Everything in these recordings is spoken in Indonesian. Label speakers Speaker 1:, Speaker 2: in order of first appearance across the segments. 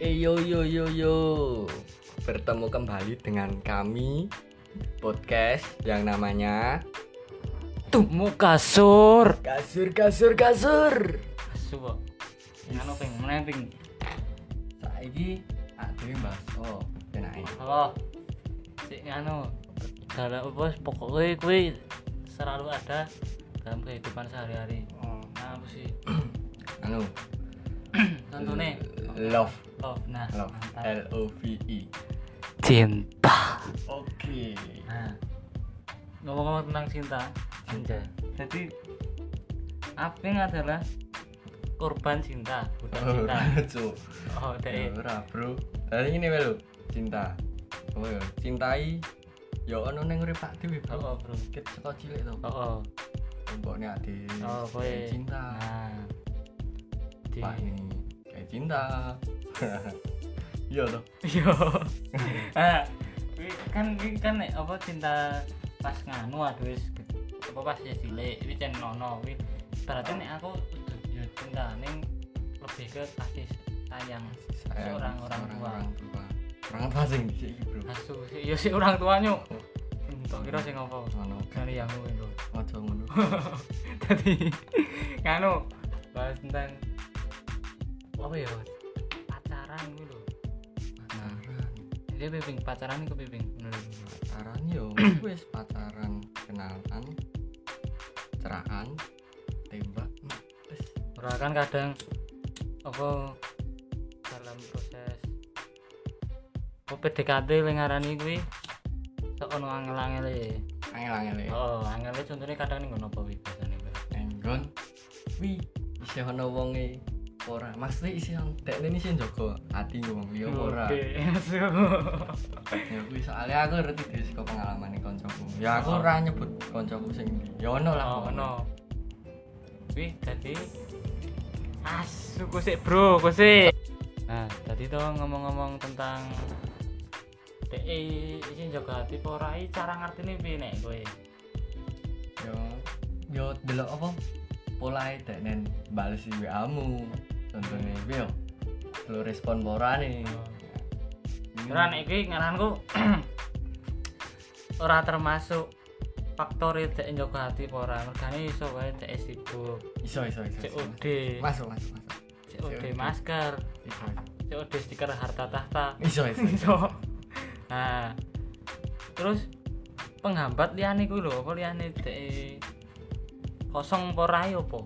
Speaker 1: Hey, Eh, yo yo yo yo. Bertemu kembali dengan kami podcast yang namanya
Speaker 2: Tumu kasur.
Speaker 1: Kasur Kasur Kasur.
Speaker 2: Kasur. Anu ping, meneh ping.
Speaker 1: Saiki aku Mas. Oh, kenai.
Speaker 2: Apa? Sik anu. Gara apa pokoknya kuwi selalu ada dalam kehidupan sehari-hari.
Speaker 1: Oh,
Speaker 2: Nah, apa sih?
Speaker 1: anu
Speaker 2: Contohnya
Speaker 1: love
Speaker 2: love. Nah,
Speaker 1: love
Speaker 2: mantap.
Speaker 1: L O V E.
Speaker 2: Cinta.
Speaker 1: Oke.
Speaker 2: Nah. Ngomong-ngomong tentang cinta,
Speaker 1: Cinta.
Speaker 2: jadi Aping adalah korban cinta, budak cinta.
Speaker 1: Cuk.
Speaker 2: Oh,
Speaker 1: Ya
Speaker 2: deh.
Speaker 1: ora, Bro. Dari Eh. ini wae lho, cinta. Oh, ya. cintai ya ono ning urip Pak Dewi, Bro.
Speaker 2: Oh, bro.
Speaker 1: Kit saka cilik to.
Speaker 2: Oh, oh.
Speaker 1: Mbokne ade.
Speaker 2: Oh, kowe.
Speaker 1: kayak Hmm. cinta.
Speaker 2: Nah. Di-
Speaker 1: Pak ini kayak cinta. Iya toh.
Speaker 2: Yo. Ah, kuwi kan kuwi kan nek apa cinta pas nganu aduh wis ge- apa pas ya cilik kuwi jan nono kuwi berarti nek aku yo cinta ning lebih ke kasih sayang
Speaker 1: Sayang
Speaker 2: seorang orang tua.
Speaker 1: Orang tua. Orang tua sing dhisik iki, Bro.
Speaker 2: asu sih- yo si orang tuanya entok kira sing ngopo
Speaker 1: Ngono.
Speaker 2: kali yang kuwi lho
Speaker 1: Aja ngono.
Speaker 2: tadi nganu bahas tentang apa ya Bos? pacaran kuwi lho
Speaker 1: Pacaran.
Speaker 2: dia piping pacaran iku piping menurut
Speaker 1: Pacaran yo wis pacaran, kenalan, cerahan, tembak. Wis.
Speaker 2: Ora kan kadang apa dalam proses apa PDKT yang ngarani kuwi sok ono angel-angele.
Speaker 1: Angel-angel ya.
Speaker 2: Oh, angele contohnya kadang ning ngono apa kuwi biasane. kuwi?
Speaker 1: Enggon. Wi, isih ana wonge ora. Maksudnya isih ana dekne ini sing jaga ati wong liya Ya ora.
Speaker 2: Oke, asu.
Speaker 1: Ya kuwi soalnya aku ngerti dari saka pengalaman kancaku. Ya aku ora nyebut kancaku sing ndi. Ya ono lah
Speaker 2: Oh,
Speaker 1: pokoknya.
Speaker 2: ono. Kuwi dadi asu kusik, Bro, kusik. Nah, tadi to ngomong-ngomong tentang DE iki jaga hati apa ora iki cara ngertine piye nek kowe?
Speaker 1: Yo yo delok apa? e Polae dekne balesi WA-mu. Contone kuwi yo. Lu respon apa ora nih.
Speaker 2: Ora nek iki ngaranku ora termasuk faktor e dek njogo ati apa ora. Mergane iso wae dek sibuk.
Speaker 1: iso iso iso. iso.
Speaker 2: COD,
Speaker 1: Masuk masuk masuk.
Speaker 2: COD
Speaker 1: COD.
Speaker 2: masker,
Speaker 1: Iso
Speaker 2: COD stiker harta tahta.
Speaker 1: iso. Iso iso.
Speaker 2: Iso. Nah. Terus penghambat liyane kuwi lho, apa liyane dek e kosong apa ora ya apa?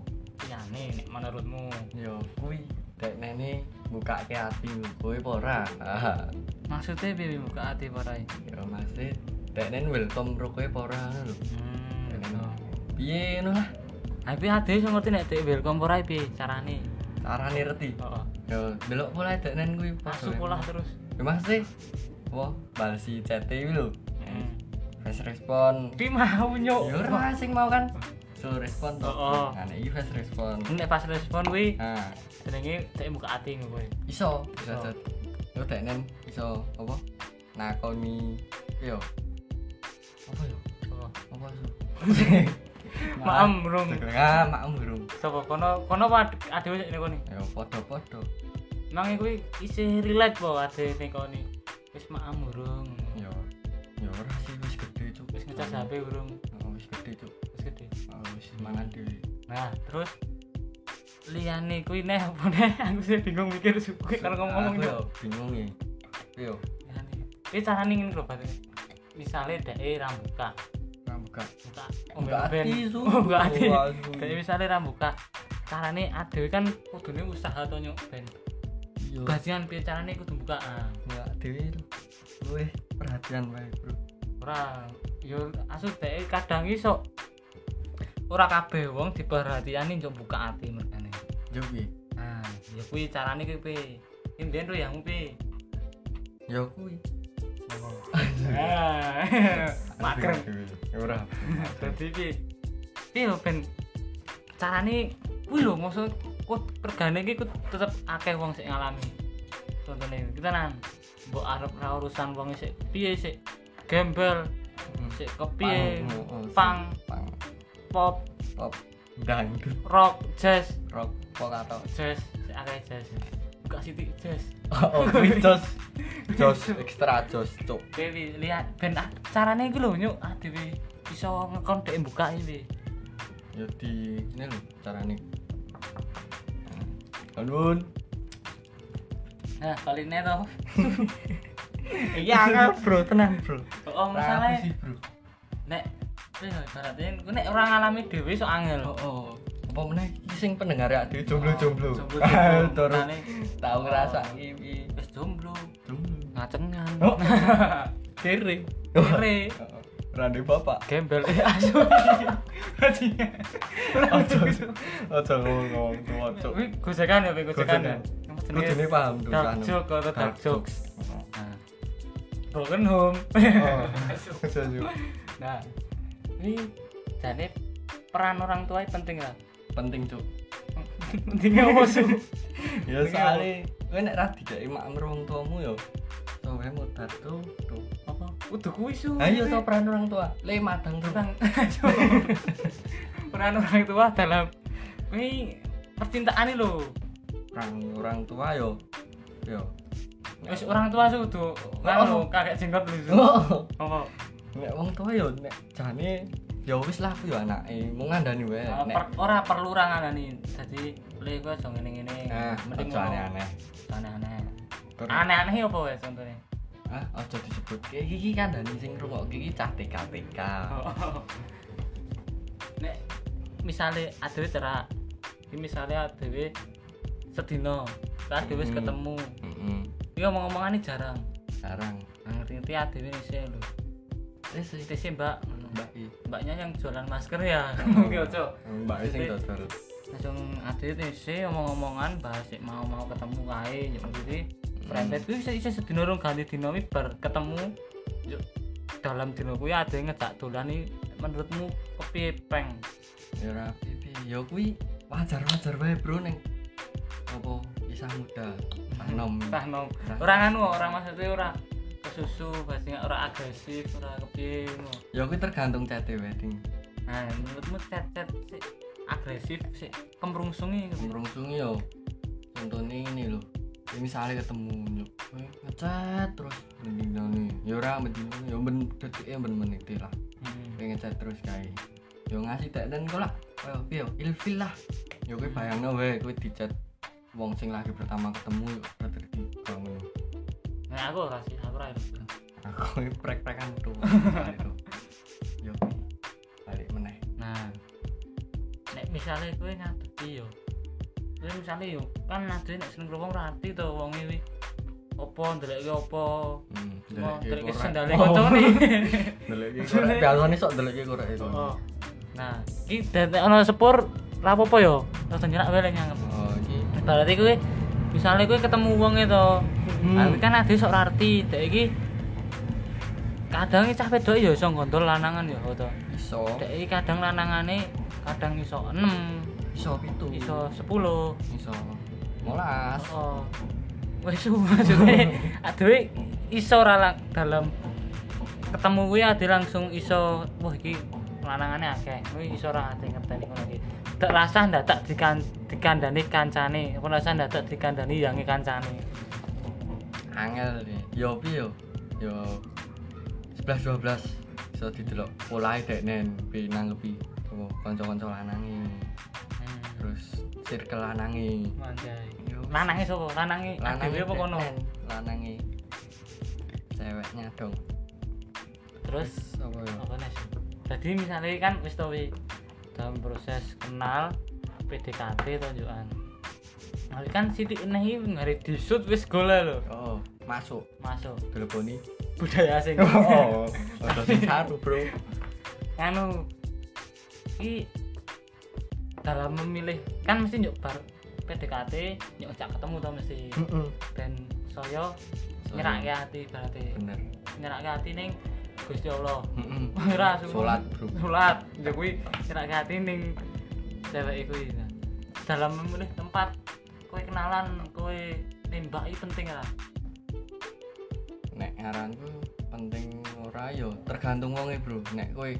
Speaker 2: Liyane nek menurutmu.
Speaker 1: Yo kuwi dekne ne mbukake ati kowe apa ora? Ah.
Speaker 2: Maksudnya piye buka ati apa ora? iki?
Speaker 1: Ya mesti dekne welcome ro kowe apa ora ngono lho.
Speaker 2: Hmm.
Speaker 1: Dekne
Speaker 2: gitu.
Speaker 1: Piye ngono lah.
Speaker 2: Tapi ade iso ngerti nek dek welcome ora piye carane.
Speaker 1: Carane reti.
Speaker 2: Heeh.
Speaker 1: Yo delok polae dekne kuwi
Speaker 2: Masuk pola terus.
Speaker 1: Ya mesti. Wah, balesi chat iki lho.
Speaker 2: Hmm.
Speaker 1: Fast respon.
Speaker 2: Ki mau nyuk.
Speaker 1: Yo Hmm. Ya ora sing mau kan. Slow Iya, respon to.
Speaker 2: Heeh.
Speaker 1: Nah, nek iki fast respon.
Speaker 2: Nek pas respon kuwi
Speaker 1: Nah,
Speaker 2: jenenge dek buka ati ngono kuwi.
Speaker 1: iso iso.
Speaker 2: Iso.
Speaker 1: Jod. Yo dekne iso apa? Nakoni yo. Apa yo?
Speaker 2: Apa?
Speaker 1: Apa iso? Nah.
Speaker 2: Maem rung.
Speaker 1: Ah, maem burung.
Speaker 2: Sapa kono kono apa ade- ade wis ning kono.
Speaker 1: Ayo podo-podo.
Speaker 2: Mangi kuwi isih relate po ade ning kono. Wis maam urung.
Speaker 1: Yo. Yo ora sih wis gede cuk.
Speaker 2: Wis ngecas Hmm. HP urung.
Speaker 1: Oh, wis gede cuk.
Speaker 2: Wis gede.
Speaker 1: Oh, wis mangan dhewe.
Speaker 2: Nah, terus liyane kuwi neh apa neh aku sih bingung mikir suku karo ngomong
Speaker 1: Aku
Speaker 2: yo.
Speaker 1: yo bingung ya. Yo,
Speaker 2: Iki carane ngene lho Pak. Misale dek rambuka.
Speaker 1: ora buka.
Speaker 2: buka
Speaker 1: Buka
Speaker 2: omben-omben.
Speaker 1: ati su.
Speaker 2: Oh, buka ati
Speaker 1: Oh, asu.
Speaker 2: kayak misalnya rambuka carane adewe kan kudune usaha to nyuk ben
Speaker 1: Yo.
Speaker 2: bajingan piye carane kudu buka ah
Speaker 1: Enggak dhewe lho. Luwih perhatian wae, Bro.
Speaker 2: ora yo asu dhek kadang iso ora kabeh wong diperhatiani nyuk buka ati mergane
Speaker 1: Yo piye?
Speaker 2: ah ya kuwi carane kuwi piye Ini mbiyen lho yang piye
Speaker 1: Yo kuwi.
Speaker 2: Ah, makrem
Speaker 1: Ya ora.
Speaker 2: dadi piye piye lho ben carane kuwi lho maksud kok regane iki kudu tetep akeh wong sik ngalami contohnya kita nang mbok arep ra urusan wong sik piye sik gembel sik kepiye
Speaker 1: Pang, oh, oh, sing-
Speaker 2: pang
Speaker 1: Pang
Speaker 2: pop
Speaker 1: pop dangdut
Speaker 2: rock jazz
Speaker 1: rock pop atau
Speaker 2: jazz sik akeh jazz gak sitik jos
Speaker 1: oh kuwi jos jos ekstra jos cuk
Speaker 2: Dewi lihat ben ah, carane iki lho nyuk ah Dewi bisa ngekon dek buka iki
Speaker 1: ya di ini lho carane Alun,
Speaker 2: nah baliknya to iya kan
Speaker 1: bro, tenang bro.
Speaker 2: oh
Speaker 1: Rapi
Speaker 2: masalahnya
Speaker 1: sih bro.
Speaker 2: nek wis ibaratnya ku nek ora ngalami dhewe sok angel
Speaker 1: Oh, oh. apa meneh iki sing pendengar ya dhewe jomblo-jomblo.
Speaker 2: Jomblo-jomblo.
Speaker 1: Terus
Speaker 2: Tane
Speaker 1: tau ngerasa
Speaker 2: Oh.
Speaker 1: iki
Speaker 2: wis jomblo
Speaker 1: jomblo.
Speaker 2: ngacengan
Speaker 1: Oh. Heeh.
Speaker 2: kere kere
Speaker 1: Rande bapak.
Speaker 2: gembel eh asu bajingan
Speaker 1: Ojo ojo ngomong tua cuk.
Speaker 2: Wih, gojekan ya, wih, gojekan ya.
Speaker 1: Gojekan. Kudune paham Anu. tuh
Speaker 2: Dark joke, kata dark jokes. Nah, broken home.
Speaker 1: Oh. Ojo yuk.
Speaker 2: nah, ini jadi peran orang tua ini penting lah.
Speaker 1: Penting cuk.
Speaker 2: Pentingnya apa sih?
Speaker 1: Ya
Speaker 2: Penting
Speaker 1: soalnya kowe nek ra dikeki makmur wong tuamu ya sampe modar tuh.
Speaker 2: Apa? Udah Iya, kuwi su.
Speaker 1: Ayo to peran orang tua. Le madang tuh.
Speaker 2: peran. peran orang tua dalam ini percintaan ini loh.
Speaker 1: Peran orang tua ya, yo. Yo.
Speaker 2: Wis orang tua su tuh.
Speaker 1: Nah.
Speaker 2: Kan
Speaker 1: Oh.
Speaker 2: lo kakek jenggot lu su.
Speaker 1: Oh.
Speaker 2: Apa?
Speaker 1: nek wong tua yo nek jane ya wis lah aku yo anake mung ngandani wae
Speaker 2: Nah,
Speaker 1: Eh, nek
Speaker 2: per- ora perlu orang nih. Jadi, le gue so ngene-ngene.
Speaker 1: nah
Speaker 2: Mending
Speaker 1: aja
Speaker 2: ngomong.
Speaker 1: aneh-aneh
Speaker 2: aneh-aneh
Speaker 1: Terus-
Speaker 2: aneh-aneh apa ya contohnya
Speaker 1: ah aja disebut kayak iki kan dan sing ngrungokke iki cah TK TK
Speaker 2: Oh.
Speaker 1: Ah.
Speaker 2: nek misalnya adewe cerak ini misalnya adewe sedino terus adewe wis
Speaker 1: Hmm.
Speaker 2: ketemu
Speaker 1: heeh
Speaker 2: ini ngomong-ngomongan ini jarang
Speaker 1: sekarang
Speaker 2: Nah, ngerti-ngerti adewe nisih ya, lho
Speaker 1: wis
Speaker 2: ngerti sih mbak
Speaker 1: mbak i
Speaker 2: mbaknya yang jualan masker ya oke ojo
Speaker 1: mbak i sing dodol
Speaker 2: langsung adewe nisih ngomong-ngomongan bahas sik mau-mau ketemu kae yuk ngerti prempet kuwi iso iso sedino rong ganti dino iki bar ketemu yuk dalam dino kuwi adewe ngejak dolan iki menurutmu kepiye peng
Speaker 1: ya rapi pi yo kuwi wajar-wajar wae bro ning apa kisah muda anom
Speaker 2: entah nom orang anu orang maksudnya orang kesusu pasti orang agresif orang kepiye ngono.
Speaker 1: ya kuwi tergantung cete wedding
Speaker 2: nah menurutmu cet cet si agresif si kemrungsungi gitu.
Speaker 1: merungsung yo contohnya ini loh ya, misalnya ketemu nyok eh, ngechat terus mending nih ya ora mending ya ben detiknya ben menit lah
Speaker 2: Hmm.
Speaker 1: Kowe ngechat terus kae yo ngasih teknen kok lah yo yo ilfil lah yo kowe bayangno wae kowe dicat wong sing lagi pertama ketemu yo berarti dibangun
Speaker 2: nah aku ora sih aku ora itu
Speaker 1: aku ini Nah, prek-prekan tuh itu yo balik meneh
Speaker 2: nah nek misalnya gue ngadepi yo gue misalnya yo kan nanti nek seneng wong rati to wong iki opo ndelok opo
Speaker 1: hmm
Speaker 2: Oh,
Speaker 1: deleke korek.
Speaker 2: terus sendale
Speaker 1: Oh,
Speaker 2: kocok nih
Speaker 1: deleke korek biasane sok deleke korek itu
Speaker 2: Oh. Nah, iki dadi ana sepur ra apa-apa yo. Terus nyenak wae lek nyangkep.
Speaker 1: oh iki
Speaker 2: Berarti kuwi misalnya kuwi ketemu wong itu.
Speaker 1: Hmm.
Speaker 2: Tapi kan ade sok ra arti, dek iki kadang iki cah wedok ya iso gondol lanangan ya to.
Speaker 1: iso
Speaker 2: Dek iki kadang lanangane kadang iso 6,
Speaker 1: iso pitu
Speaker 2: iso 10.
Speaker 1: iso molas
Speaker 2: Oh. Wes maksudnya adewe iso ora lang- dalam ketemu kuwi ade langsung iso wah iki lanangane akeh. Kuwi iso ora ate ngerteni ngono iki. Tak rasah ndak tak dikan dikandani kancane, apa rasah ndak tak dikandani yange kancane.
Speaker 1: angel nih yo pi yo yo sebelas dua belas iso didelok polai dek nen pi nanggepi apa kanca-kanca lanangi
Speaker 2: Hmm.
Speaker 1: terus circle lanangi
Speaker 2: Manjai.
Speaker 1: Yo,
Speaker 2: Lanange sapa? Lanange adewe
Speaker 1: Hmm.
Speaker 2: apa
Speaker 1: dek
Speaker 2: kono?
Speaker 1: nen, lanangi ceweknya dong
Speaker 2: Terus
Speaker 1: apa yo
Speaker 2: apa nes? Jadi misalnya kan wis tau wi, dalam proses kenal PDKT tunjukan. Nah, kan sidik enehi ngare disut wis gola lho.
Speaker 1: oh masuk
Speaker 2: Masuk
Speaker 1: teleponi
Speaker 2: budaya asing.
Speaker 1: oh ada sing saru bro
Speaker 2: anu i dalam memilih kan mesti nyuk bar PDKT nyuk cak ketemu tau mesti
Speaker 1: Heeh.
Speaker 2: dan soyo
Speaker 1: Soyo.
Speaker 2: nyerake hati berarti
Speaker 1: bener
Speaker 2: nyerake hati ning Gusti Allah.
Speaker 1: Heeh.
Speaker 2: Ora sumpah.
Speaker 1: Sholat, bro.
Speaker 2: Sholat. Ya kuwi nyerake hati ning cewek iku ya. Dalam memilih tempat kowe kenalan, kowe nembak iki penting lah.
Speaker 1: nek ngaranku penting ya ora yo tergantung wonge bro nek kowe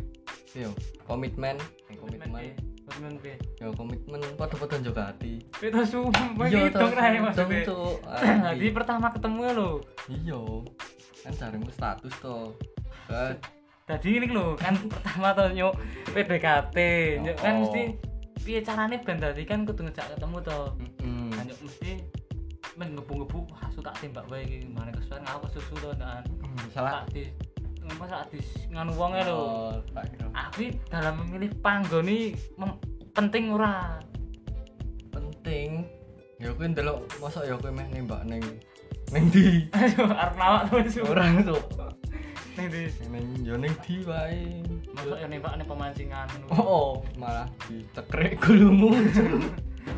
Speaker 1: yo ya, komitmen nek komitmen
Speaker 2: Komitmen, iya. komitmen piye
Speaker 1: ya komitmen padha-padha njaga hati
Speaker 2: kita sumpah
Speaker 1: Iya,
Speaker 2: iki dong
Speaker 1: tau,
Speaker 2: rae
Speaker 1: dong,
Speaker 2: maksudnya
Speaker 1: Cuk. Ah,
Speaker 2: jadi pertama ketemu lo
Speaker 1: iya kan jarimu status to kan
Speaker 2: tadi ini lo kan pertama tuh nyok PDKT nyok kan
Speaker 1: Oh.
Speaker 2: mesti piye carane ben tadi kan kudu ngejak ketemu to
Speaker 1: Mm-mm.
Speaker 2: kan nyok mesti men ngebu-ngebu wah suka tembak wae iki mari kesuwen aku kesusu to kan
Speaker 1: Mm, salah
Speaker 2: tak di ngomong sak di nganu wong e lho
Speaker 1: Oh, tak kira.
Speaker 2: aku ini dalam memilih panggon ini mem- penting ora
Speaker 1: penting ya kuwi ndelok mosok ya kuwi meh nembak ning ning ndi
Speaker 2: aduh arep lawak terus
Speaker 1: orang tuh
Speaker 2: ning di
Speaker 1: ning yo ning ndi wae
Speaker 2: masuk yang nembak nih pemancingan
Speaker 1: oh, oh malah ditekrek gulumu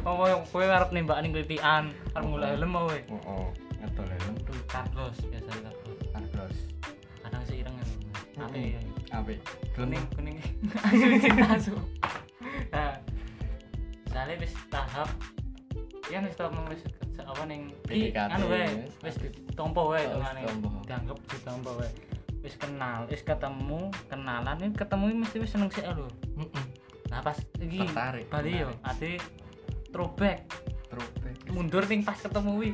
Speaker 2: oh yang kowe arep nembak nih kelitian arep mulai helm kowe
Speaker 1: oh oh ngedol helm tuh
Speaker 2: Carlos biasanya Carlos
Speaker 1: Argos
Speaker 2: kadang sih ireng apa
Speaker 1: Mm-mm.
Speaker 2: ya
Speaker 1: apik gelem
Speaker 2: kuning kuning asli cinta su nah misalnya wis tahap ya wis tahap nomor se- se- apa neng di
Speaker 1: PDKT,
Speaker 2: anu wae
Speaker 1: wis.
Speaker 2: wis ditompo wae
Speaker 1: Oh, wis
Speaker 2: tengane
Speaker 1: ditompo.
Speaker 2: dianggap ditompo wae wis kenal wis ketemu kenalan ini ketemu ini mesti wis seneng sik lho
Speaker 1: Mm-mm.
Speaker 2: nah pas iki
Speaker 1: Tertarik,
Speaker 2: bali yo
Speaker 1: menarik.
Speaker 2: ade throwback
Speaker 1: Trope.
Speaker 2: mundur ting pas ketemu wi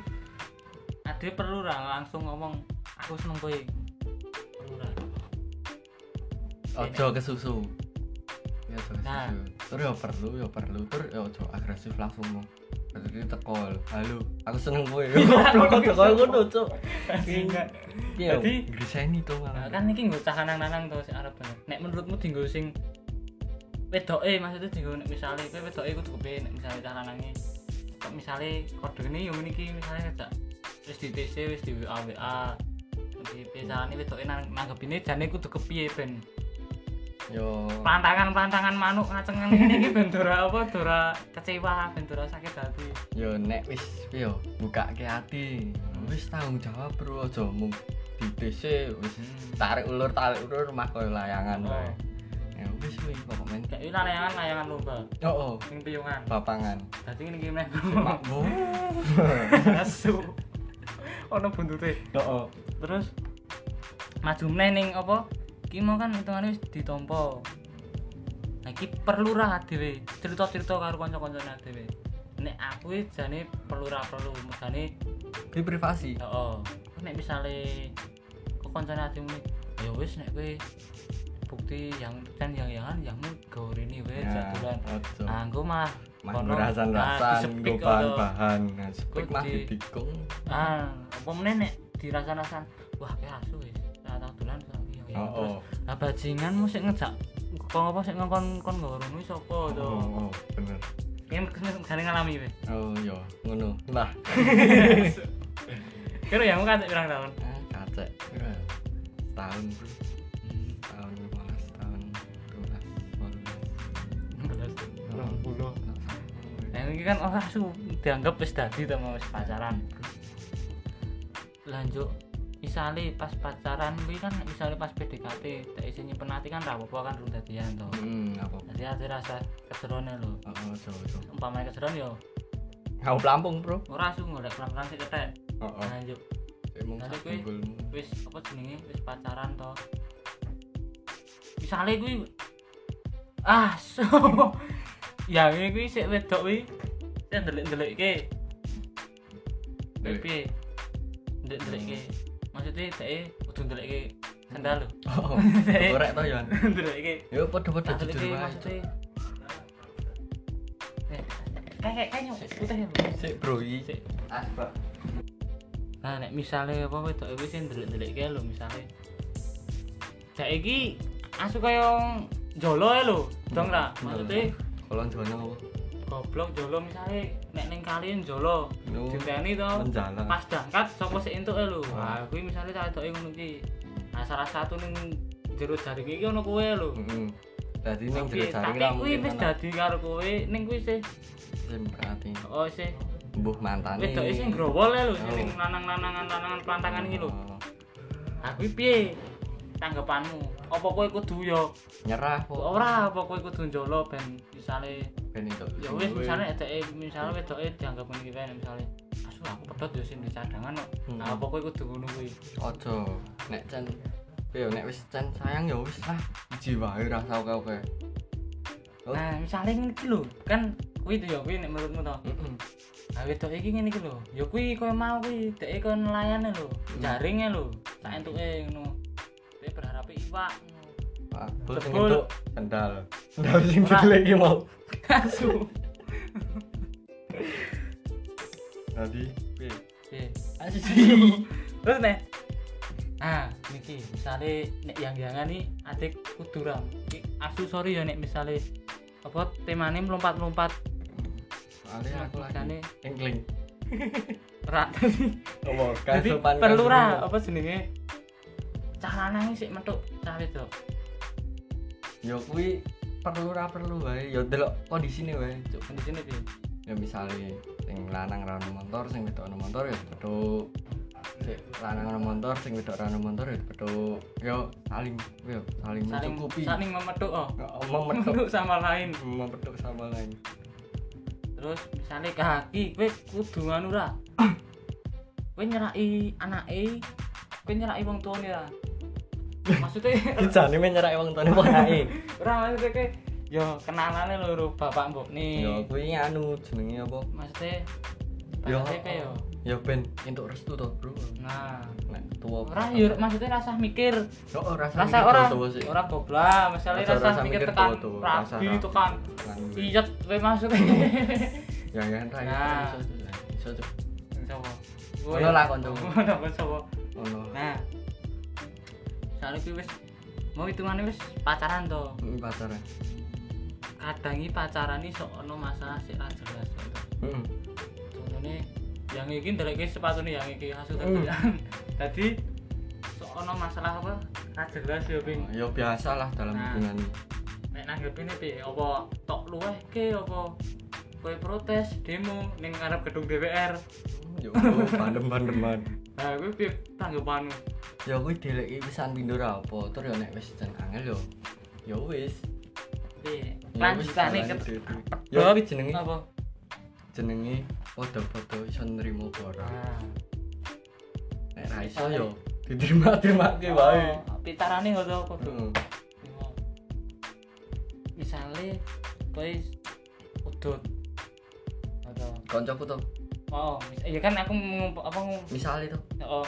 Speaker 2: ade perlu ra langsung ngomong aku seneng kowe perlu ra
Speaker 1: ojo kesusu ya ojo
Speaker 2: Nah.
Speaker 1: kesusu tur ya perlu ya perlu tur ya ojo agresif langsung mau jadi tekol halo aku seneng kowe goblok kok tekol ngono cuk
Speaker 2: Enggak.
Speaker 1: iya
Speaker 2: Jadi-
Speaker 1: griseni to
Speaker 2: Nah,
Speaker 1: malah
Speaker 2: kan iki nggo cah lanang-lanang to sing arep bener. Nek menurutmu dinggo sing wedoke maksudnya dinggo nek misale kowe wedoke kudu kepiye nek misale cah lanange kok misale kodene yo ngene iki misale ngejak wis di TC wis di WA WA di pisalane wedoke nang- nanggepine jane kudu kepiye ben
Speaker 1: yo
Speaker 2: pelantangan-pelantangan manuk ngacengan ngene iki ben dora apa dora kecewa ben dora sakit hati.
Speaker 1: yo nek wis yo bukake ati wis tanggung jawab bro ojo mung di TC wis tarik ulur tarik ulur mah koyo layangan
Speaker 2: Oh.
Speaker 1: wae ya wis kuwi pokok men
Speaker 2: Kayak iki layangan layangan lomba
Speaker 1: oh oh
Speaker 2: ning piyungan.
Speaker 1: papangan
Speaker 2: Dadi ngene iki meh.
Speaker 1: mak bu
Speaker 2: Asu. Ono buntute.
Speaker 1: oh oh
Speaker 2: terus maju meneh ning apa iki mau kan hitungane wis ditompo nah iki perlu ra dhewe cerita-cerita karo kanca-kancane dhewe nek aku iki jane perlu ra perlu mesane
Speaker 1: Kuwi privasi
Speaker 2: heeh nek misale kok kancane adhimu ya wis nek kowe bukti yang dan yang yangan yangmu gawe rene wae jadulan
Speaker 1: ojo
Speaker 2: anggo mah
Speaker 1: Ya, Mas
Speaker 2: Ah, kono, Ah,
Speaker 1: rasan-rasan,
Speaker 2: disepik
Speaker 1: gue
Speaker 2: kono.
Speaker 1: bahan-bahan Nah, sepik
Speaker 2: Kok
Speaker 1: mah
Speaker 2: di-
Speaker 1: didikung
Speaker 2: ah apa meneh nek dirasa-rasan wah kayak asu wis tak tak dolan saiki ya
Speaker 1: Oh,
Speaker 2: terus
Speaker 1: oh,
Speaker 2: Lah bajingan mu sik ngejak kok apa sik ngongkon kon nggo rono sapa to.
Speaker 1: oh, oh, bener
Speaker 2: Ini gane ngalami weh.
Speaker 1: Oh, iya, ngono Lah,
Speaker 2: Kira ya kan pirang tahun.
Speaker 1: eh, kacek Kira ya, Setahun, bro Setahun, limolas, setahun Dulas, walulas Rong puluh
Speaker 2: Nah, ini kan orang su dianggap wis dadi to mau wis pacaran. Lanjut misalnya pas pacaran kuwi kan misalnya pas PDKT tak isi nyimpen hati kan ra apa-apa kan durung dadian to.
Speaker 1: Hmm, apa
Speaker 2: Jadi ada rasa kejerone lho.
Speaker 1: Oh, oh, coba, coba
Speaker 2: Umpamane kejeron yo
Speaker 1: Kau pelampung, bro
Speaker 2: ora su ngolek pelan-pelan sik kethek.
Speaker 1: Oh, oh,
Speaker 2: Lanjut
Speaker 1: Cek mung
Speaker 2: Nanti
Speaker 1: sak
Speaker 2: kuwi-
Speaker 1: tunggulmu.
Speaker 2: wis apa jenenge wis pacaran to misalnya gue ah so ya ini gue sik wedok gue saya ndelik ndelik ke
Speaker 1: Ndelik.
Speaker 2: pipi ndelik ndelik ke maksudnya saya udah ndelik ke sandal lo
Speaker 1: Oh, oh, korek toh, Yon
Speaker 2: ndelik ke
Speaker 1: Yo, podo-podo jujur
Speaker 2: ndelik ke
Speaker 1: wae, Cuk.
Speaker 2: maksudnya Eh, kayak kayaknya putih ya Bu.
Speaker 1: Sik, bro, iki
Speaker 2: Sik.
Speaker 1: Asbak
Speaker 2: Nah, nek misale apa wedok iki sing ndelik-ndelikke lho misale. Dek iki asu kaya jolo ae lho, dong ra?
Speaker 1: Hmm,
Speaker 2: Maksudnya
Speaker 1: Kolon jono apa?
Speaker 2: goblok jolo misale nek ning kali jolo.
Speaker 1: Yo,
Speaker 2: Diteni to.
Speaker 1: Menjala
Speaker 2: Pas dangkat sapa sik entuk ae lho.
Speaker 1: Ah.
Speaker 2: Nah, kuwi misale cah wedoke ngono iki. Nah, salah satu ning jero jari iki ono kowe lho.
Speaker 1: Heeh. Dadi Hmm, ning
Speaker 2: Tapi
Speaker 1: jero jaring
Speaker 2: tapi
Speaker 1: ra
Speaker 2: kuwi
Speaker 1: mungkin
Speaker 2: wis
Speaker 1: ana
Speaker 2: dadi karo kowe ning kuwi sih.
Speaker 1: sing berarti.
Speaker 2: Oh, sih.
Speaker 1: Mbuh mantane.
Speaker 2: Wedoke sing growol ae lho,
Speaker 1: Oh.
Speaker 2: sing lanang-lanangan lanangan pelantangan iki lho.
Speaker 1: Oh,
Speaker 2: Aku piye tanggapanmu? Apa kowe kudu yo
Speaker 1: Nyerah kok.
Speaker 2: ora apa kowe kudu njolo ben misale
Speaker 1: Ben itu.
Speaker 2: ya wis misale edeke misale wedoke dianggap ngene iki kan misale asu aku pedot yo sing di cadangan kok.
Speaker 1: Hmm.
Speaker 2: Nah, apa kowe kudu ngono kuwi?
Speaker 1: ojo nek cen Yo nek wis cen sayang ya wis lah. Iji wae rasa oke-oke. Oh.
Speaker 2: Nah, misalnya ngene iki lho, kan kuwi itu ya kuwi nek menurutmu to.
Speaker 1: Mm-mm.
Speaker 2: Nah, wedok iki ngene iki lho. Ya kuwi kowe mau kuwi deke kowe nelayane lho,
Speaker 1: Hmm.
Speaker 2: jaringe lho, sak entuke ngono. Dek berharap iwak. ngono.
Speaker 1: Abul sing
Speaker 2: Jebul.
Speaker 1: entuk sendal. Sendal sing
Speaker 2: Ora.
Speaker 1: jelek iki mau.
Speaker 2: Kasu.
Speaker 1: Tadi
Speaker 2: Iya. Asli. Terus nih. Ah, niki misalnya nek yang yangan nih adik kuduram. Iki asu sorry ya nek misalnya apa temane melompat-lompat
Speaker 1: soalnya aku lagi
Speaker 2: Makane-
Speaker 1: engkling.
Speaker 2: rak.
Speaker 1: Oh,
Speaker 2: Jadi perlu ra apa jenenge? Cah lanang iki sik metuk cah wedok.
Speaker 1: Ya kuwi perlu ra perlu wae. Ya delok kondisine wae, Cuk.
Speaker 2: Di sini piye?
Speaker 1: Ya misale sing lanang ra ono motor, sing wedok ono motor ya dipethuk. Sing lanang ono motor, sing wedok ra ono motor ya dipethuk. Yo saling yo saling
Speaker 2: Saling
Speaker 1: mencukupi.
Speaker 2: saling memetuk oh.
Speaker 1: Memeduk
Speaker 2: Memetuk sama lain.
Speaker 1: memeduk sama lain.
Speaker 2: Terus misalnya kaki kowe kudu nganu ra. Kowe nyeraki anake, kowe nyeraki wong tuane ra. Maksudnya
Speaker 1: Ijane menyerak wong tuane ponae.
Speaker 2: Ora maksudnya kayak yo kenalane lho bapak mbok nih.
Speaker 1: Ya kuwi anu jenenge apa?
Speaker 2: Maksudnya
Speaker 1: Yo.
Speaker 2: bahasanya kayak yo.
Speaker 1: Ya ben entuk restu to, Bro.
Speaker 2: Nah,
Speaker 1: Nek tua.
Speaker 2: ora yo maksudnya rasa mikir,
Speaker 1: Yo rasa
Speaker 2: rasa
Speaker 1: mikir
Speaker 2: ora
Speaker 1: tua-tua sih.
Speaker 2: ora goblok, misalnya
Speaker 1: Rasa-
Speaker 2: rasa,
Speaker 1: rasa
Speaker 2: mikir
Speaker 1: mikir
Speaker 2: tekan
Speaker 1: tua-tua, rasa
Speaker 2: rabi
Speaker 1: ra-
Speaker 2: tekan
Speaker 1: Lan-
Speaker 2: iyet kowe maksudnya.
Speaker 1: Ya ya ra ya,
Speaker 2: Nah.
Speaker 1: iso, iso, iso. iso.
Speaker 2: Sopo?
Speaker 1: Ngono lah koncomu.
Speaker 2: Ngono kon sopo?
Speaker 1: Ono.
Speaker 2: Nah. Soalnya kuwi wis mau hitungannya wis pacaran to.
Speaker 1: Ini pacaran.
Speaker 2: Kadang iki pacaran iki sok ono masalah sik ra jelas. to.
Speaker 1: Heeh.
Speaker 2: contohnya yang ini dari sepatu nih yang ini hasil
Speaker 1: Hmm.
Speaker 2: tadi tadi soalnya masalah apa tak jelas ya ping
Speaker 1: Ya biasalah dalam
Speaker 2: Nah.
Speaker 1: hubungan.
Speaker 2: nek nanggepi nih pi apa tok luweh ke apa kowe protes demo ning ngarep gedung DPR
Speaker 1: Yo Ya, bandem-bandeman.
Speaker 2: nah gue pi tanggapanmu
Speaker 1: Ya kuwi dileki pisan pindho ra apa, tur ya nek wis jan angel yo. Ya wis.
Speaker 2: pi
Speaker 1: Ya wis, jalani
Speaker 2: lanjutane ke
Speaker 1: dhewe-dhewe. Ya
Speaker 2: Bab,
Speaker 1: kuwi jenenge
Speaker 2: apa
Speaker 1: jenenge padha-padha iso nrimo apa ora.
Speaker 2: nah
Speaker 1: Nek ra iso yo diterima-terimake wae.
Speaker 2: Oh, pitarane ngono kudu
Speaker 1: Heeh. Hmm.
Speaker 2: misale kowe udut atau
Speaker 1: Koncoku to,
Speaker 2: oh mis- iya kan aku ngumpu- apa ngumpu-
Speaker 1: misale to.
Speaker 2: Oh.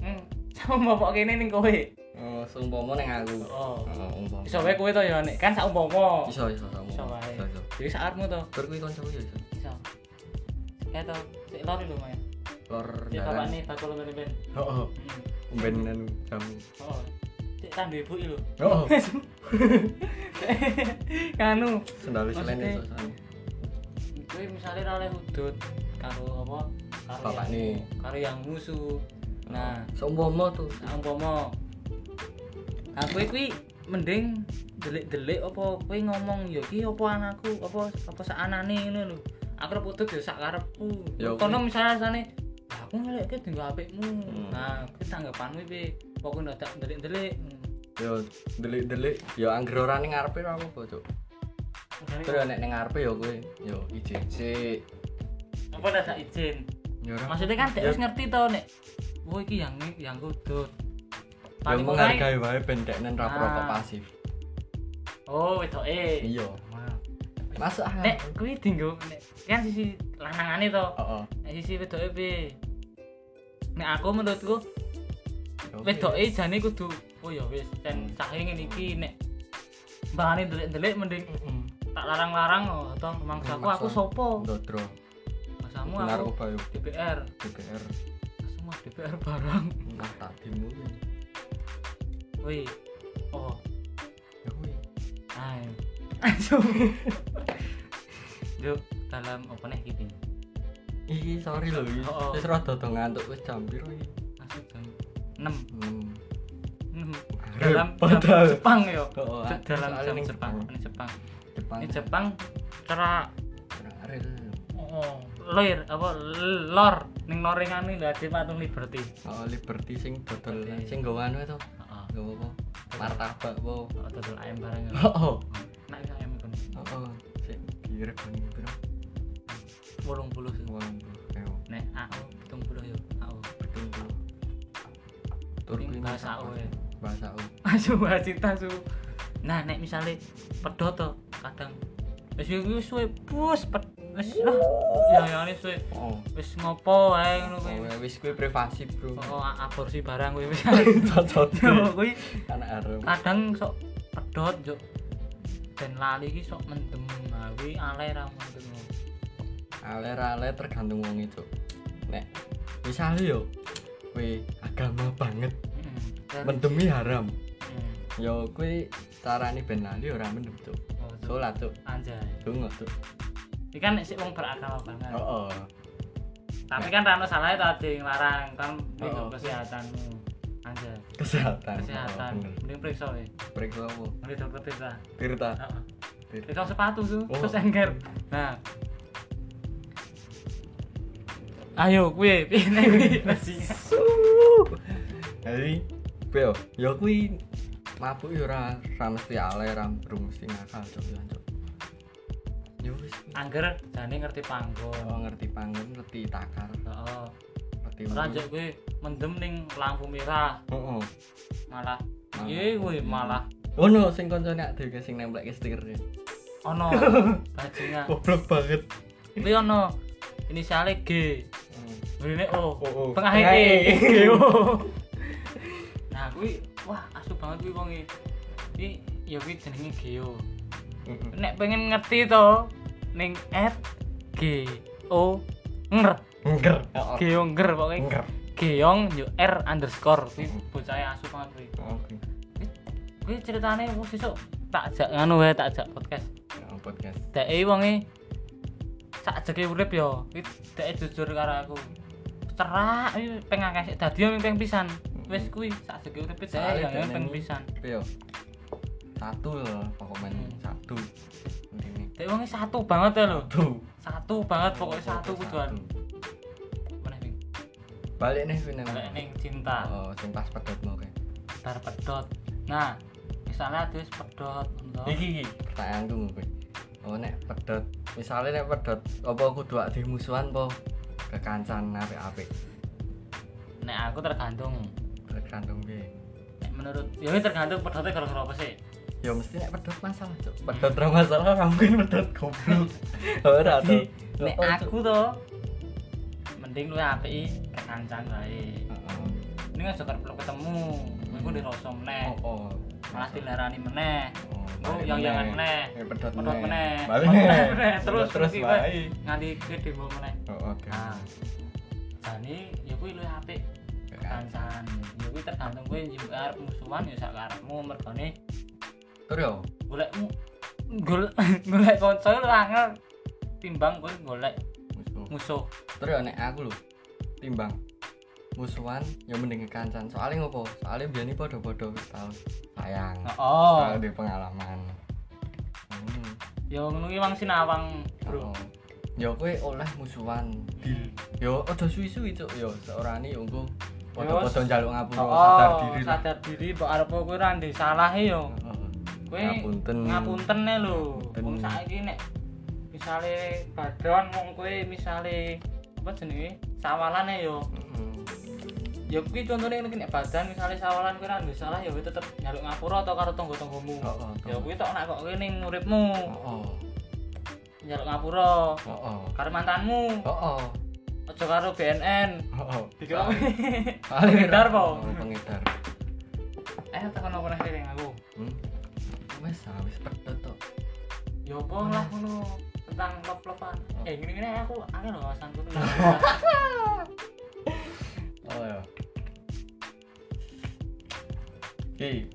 Speaker 2: Hmm. Sama bapak kene ning kowe.
Speaker 1: Oh, seumpama ning aku.
Speaker 2: Oh.
Speaker 1: Oh, umpama.
Speaker 2: Iso wae kowe to ya nek kan sak umpama.
Speaker 1: Iso iso sama.
Speaker 2: Iso wae.
Speaker 1: Iso iso.
Speaker 2: Jadi sakarmu to.
Speaker 1: Tur kuwi koncoku yo iso.
Speaker 2: Iso. Kae to, sik lori lho main.
Speaker 1: Lor
Speaker 2: Sik
Speaker 1: dalan.
Speaker 2: bapakne bakul ben-ben.
Speaker 1: Heeh.
Speaker 2: Hmm.
Speaker 1: Umben anu jamu.
Speaker 2: Oh. Sik tandu ibu lho.
Speaker 1: Heeh.
Speaker 2: Kanu,
Speaker 1: Sendal selain
Speaker 2: Maksudnya-
Speaker 1: iso sama.
Speaker 2: kowe misale ora oleh udut karo apa? Karo
Speaker 1: Bapakne.
Speaker 2: yang- Karo yang musuh. Nah,
Speaker 1: seumpama tuh.
Speaker 2: Nah, umpama aku iki mending delik-delik apa kowe ngomong ya iki apa anakku apa apa sak anane ngono lho. Aku arep putut ya sak karepku.
Speaker 1: Ya, oke.
Speaker 2: Kono misalnya rasane "Lah, aku ngelekke dinggo apikmu.
Speaker 1: Hmm.
Speaker 2: Nah, kuwi tanggapanmu piye? Pokoke ndak delik-delik. Hmm.
Speaker 1: Yo delik-delik yo angger ora ning ngarepe ora apa, Cuk. Tur yo nek ning ngarepe yo kowe yo izin sik.
Speaker 2: Apa ndak tak izin?
Speaker 1: Yo ora.
Speaker 2: Maksudnya kan
Speaker 1: Ya.
Speaker 2: dia wis ngerti to nek oh iki yang yang kudut.
Speaker 1: Yo
Speaker 2: Paling mulai
Speaker 1: menghargai wae ben deknen ra perokok
Speaker 2: Ah.
Speaker 1: pasif.
Speaker 2: oh wedoke.
Speaker 1: Iya.
Speaker 2: Wah.
Speaker 1: Masuk ah.
Speaker 2: Nek kuwi dinggo nek kan sisi lanangane to.
Speaker 1: Heeh.
Speaker 2: Nek sisi wedoke piye? Nek aku menurutku
Speaker 1: Yo,
Speaker 2: wedoke jane kudu oh ya wis ten
Speaker 1: Hmm.
Speaker 2: cahe ngene iki nek mbahane delik-delik mending
Speaker 1: Mm-mm.
Speaker 2: tak larang-larang oh, atau mangsaku
Speaker 1: Maksa.
Speaker 2: aku sopo
Speaker 1: Oh. Ndodro.
Speaker 2: mangsamu aku
Speaker 1: Narkoba yo
Speaker 2: DPR
Speaker 1: DPR.
Speaker 2: semua DPR barang
Speaker 1: Nah, tak dimu.
Speaker 2: woi oh
Speaker 1: Yo Ya kuwi.
Speaker 2: ay langsung Yuk, dalam apa nih gitu
Speaker 1: Iki sorry lho iki.
Speaker 2: Oh, oh.
Speaker 1: Wis rada do ngantuk wis jam piro iki?
Speaker 2: langsung jam 6
Speaker 1: Hmm.
Speaker 2: dalam jam
Speaker 1: Padahal.
Speaker 2: Jepang yo
Speaker 1: Oh, oh,
Speaker 2: dalam
Speaker 1: soalnya
Speaker 2: jam
Speaker 1: ning
Speaker 2: Jepang
Speaker 1: Jepang.
Speaker 2: ini Jepang
Speaker 1: Jepang.
Speaker 2: ini Jepang cara
Speaker 1: Real.
Speaker 2: Oh, lir apa l- lor ning lorengan iki dadi patung Liberty.
Speaker 1: Oh, Liberty sing dodol
Speaker 2: Liberty.
Speaker 1: sing gawa anu itu.
Speaker 2: Heeh.
Speaker 1: Gawa apa? Martabak apa?
Speaker 2: Oh, dodol ayam barang. ya.
Speaker 1: Heeh.
Speaker 2: Nek iki ayam kon
Speaker 1: Heeh. Sing diregoni piro?
Speaker 2: 80 sing.
Speaker 1: 80.000.
Speaker 2: Nek AO 70 yo. AO.
Speaker 1: 70. Tur
Speaker 2: Ini
Speaker 1: kuwi
Speaker 2: bahasa AO ya.
Speaker 1: Bahasa U. E.
Speaker 2: Asu cinta su. Nah, nek misale pedho to, kadang wis iki suwe bus pet wis ah ya ya ini suwe
Speaker 1: oh
Speaker 2: wis ngopo ae ngono
Speaker 1: oh
Speaker 2: kuwi
Speaker 1: ya, wis kuwi privasi bro
Speaker 2: Oh, a- aborsi barang kuwi wis
Speaker 1: cocok
Speaker 2: Yo, kuwi
Speaker 1: anak arem
Speaker 2: kadang sok pedot yo ben lali iki sok mendem gawe alay ra mendem
Speaker 1: ale-ale tergantung wong itu nek misalnya yo kuwi agama banget
Speaker 2: Heeh. Ter-
Speaker 1: mendemi haram
Speaker 2: Heeh.
Speaker 1: yo kuwi carane ben lali ora mendem cuk
Speaker 2: Oh, tuh.
Speaker 1: sholat cuk
Speaker 2: anjay
Speaker 1: donga cuk
Speaker 2: iki kan sik wong beragama banget
Speaker 1: oh, oh.
Speaker 2: tapi kan rano salahnya tadi ngelarang kan ini
Speaker 1: Oh.
Speaker 2: kesehatanmu aja
Speaker 1: kesehatan
Speaker 2: kesehatan
Speaker 1: oh,
Speaker 2: mending periksa ya
Speaker 1: periksa apa
Speaker 2: mending dokter tirta
Speaker 1: Tirta
Speaker 2: Heeh.
Speaker 1: Tirta.
Speaker 2: periksa sepatu tuh
Speaker 1: Oh.
Speaker 2: terus engker nah ayo kue ini kue nasinya
Speaker 1: Suuuuh. Jadi, Bel, ya kuwi mabuk ya ora ora mesti ale, ora brung mesti nakal cok ya cok. Ya wis.
Speaker 2: angger jane ngerti panggon
Speaker 1: Oh, ngerti panggon, ngerti takar,
Speaker 2: oh.
Speaker 1: ngerti
Speaker 2: ora njek kue mendem ning lampu merah
Speaker 1: Heeh.
Speaker 2: malah
Speaker 1: Malah.
Speaker 2: iya kue malah
Speaker 1: Ono sing koncone adewe sing nemplek stikernya.
Speaker 2: ono bajingan
Speaker 1: Goblok banget.
Speaker 2: kue ono inisialnya G Ini oh,
Speaker 1: Oh, oh.
Speaker 2: tengah
Speaker 1: Tengah
Speaker 2: E.
Speaker 1: E.
Speaker 2: Oh. Nah, kuwi wah asu banget kuwi wong e. Iki ya kuwi jenenge Geo.
Speaker 1: Heeh.
Speaker 2: Nek pengen ngerti to ning at G O nger
Speaker 1: Engger.
Speaker 2: Geo nger pokoke
Speaker 1: Engger.
Speaker 2: Geong yo R underscore kuwi
Speaker 1: Mm.
Speaker 2: bocahe asu banget kuwi.
Speaker 1: Oke.
Speaker 2: Kuwi- Kuwi ceritane wis sesuk tak jak ngono wae tak jak podcast.
Speaker 1: Ya, podcast.
Speaker 2: Deke e wonge sak jeke urip ya. yo kuwi deke e jujur karo aku. Cerak kuwi peng akeh sik dadi yo peng pisan. Wis kuwi sak jeke urip e deke
Speaker 1: Soale
Speaker 2: yo
Speaker 1: dene
Speaker 2: peng
Speaker 1: iki-
Speaker 2: ya, pisan.
Speaker 1: Bel. Satu lho pokoknya satu. Ini.
Speaker 2: Deke wonge satu banget ya lho.
Speaker 1: Tuh.
Speaker 2: Satu banget pokoknya satu kuduan. Meneh ping.
Speaker 1: Balik nih Vin.
Speaker 2: Lek ning cinta
Speaker 1: Oh, sing pas pedot mau kayak.
Speaker 2: bar pedot. Nah, misalnya ada wis pedot ngono. to.
Speaker 1: Iki iki pertanyaanku kowe. Oh nek pedot, misale nek pedot apa kudu di musuhan apa kekancan apik-apik.
Speaker 2: Nek aku tergantung.
Speaker 1: Tergantung piye.
Speaker 2: Nek menurut yo ini tergantung pedotnya gara-gara apa sih?
Speaker 1: Ya mesti nek pedot masalah, Cuk. Pedot ra masalah ra mungkin pedot goblok. Ora to.
Speaker 2: Nek
Speaker 1: oh,
Speaker 2: aku to mending lu apik kekancan wae. ini kan sekarang belum ketemu gue gue dirosok meneh
Speaker 1: Oh, oh.
Speaker 2: malah dilarani meneh
Speaker 1: Oh,
Speaker 2: oh
Speaker 1: balik
Speaker 2: yang jangan
Speaker 1: meneh.
Speaker 2: meneh
Speaker 1: Eh, pedot
Speaker 2: pedot meneh
Speaker 1: meneh.
Speaker 2: Pedot
Speaker 1: Balik meneh.
Speaker 2: meneh. terus
Speaker 1: terus
Speaker 2: mesti gue
Speaker 1: wae.
Speaker 2: nganti gue demo meneh
Speaker 1: Oh, oke.
Speaker 2: nah jani ya gue lu apik
Speaker 1: Kekancan.
Speaker 2: kancan ya gue tergantung gue juga arep musuhan ya sak karepmu mergone
Speaker 1: Tur yo.
Speaker 2: golek golek golek kanca lu angel timbang gue golek
Speaker 1: Musuh.
Speaker 2: musuh
Speaker 1: terus ya nek aku lho timbang musuhan ya mending kekancan soalnya ngopo soalnya biar ini podo podo wis tau sayang
Speaker 2: oh
Speaker 1: soalnya di pengalaman hmm.
Speaker 2: ya ngono ki mang sinawang bro Hmm.
Speaker 1: oh. ya kowe oleh musuhan di yo ojo suwi suwi cuk yo seorani yo engko podo podo njaluk ngapura Oh, sadar diri lah
Speaker 2: Ya, Oh, sadar diri mbok arep kowe ora ndek salah e, yo
Speaker 1: Heeh.
Speaker 2: kowe
Speaker 1: Ngapunten.
Speaker 2: ngapunten e lho
Speaker 1: Hmm. Ngapunten.
Speaker 2: wong saiki nek misale badon wong kowe misale apa jenenge sawalan e yo
Speaker 1: Heeh.
Speaker 2: ya kuwi contone ngene iki nek badan misale sawalan kowe ora ndek salah ya kowe tetep nyaluk ngapura atau karo tangga-tanggamu
Speaker 1: Heeh,
Speaker 2: ya kuwi tok nek kok kowe ning uripmu
Speaker 1: oh
Speaker 2: nyaluk ngapura
Speaker 1: oh oh
Speaker 2: karo mantanmu
Speaker 1: oh oh
Speaker 2: aja karo BNN
Speaker 1: oh oh
Speaker 2: dikira
Speaker 1: pengedar
Speaker 2: Pengedar, Po.
Speaker 1: pengedar
Speaker 2: eh tekan apa nih sering aku
Speaker 1: hmm. wes ah, wes pedot tok
Speaker 2: Ya apa lah ngono tentang love-lovean.
Speaker 1: Hmm. Oh.
Speaker 2: Ya gini-gini aja aku angel loh wawasanku tuh.
Speaker 1: Oh
Speaker 2: iya.
Speaker 1: ya. Ki,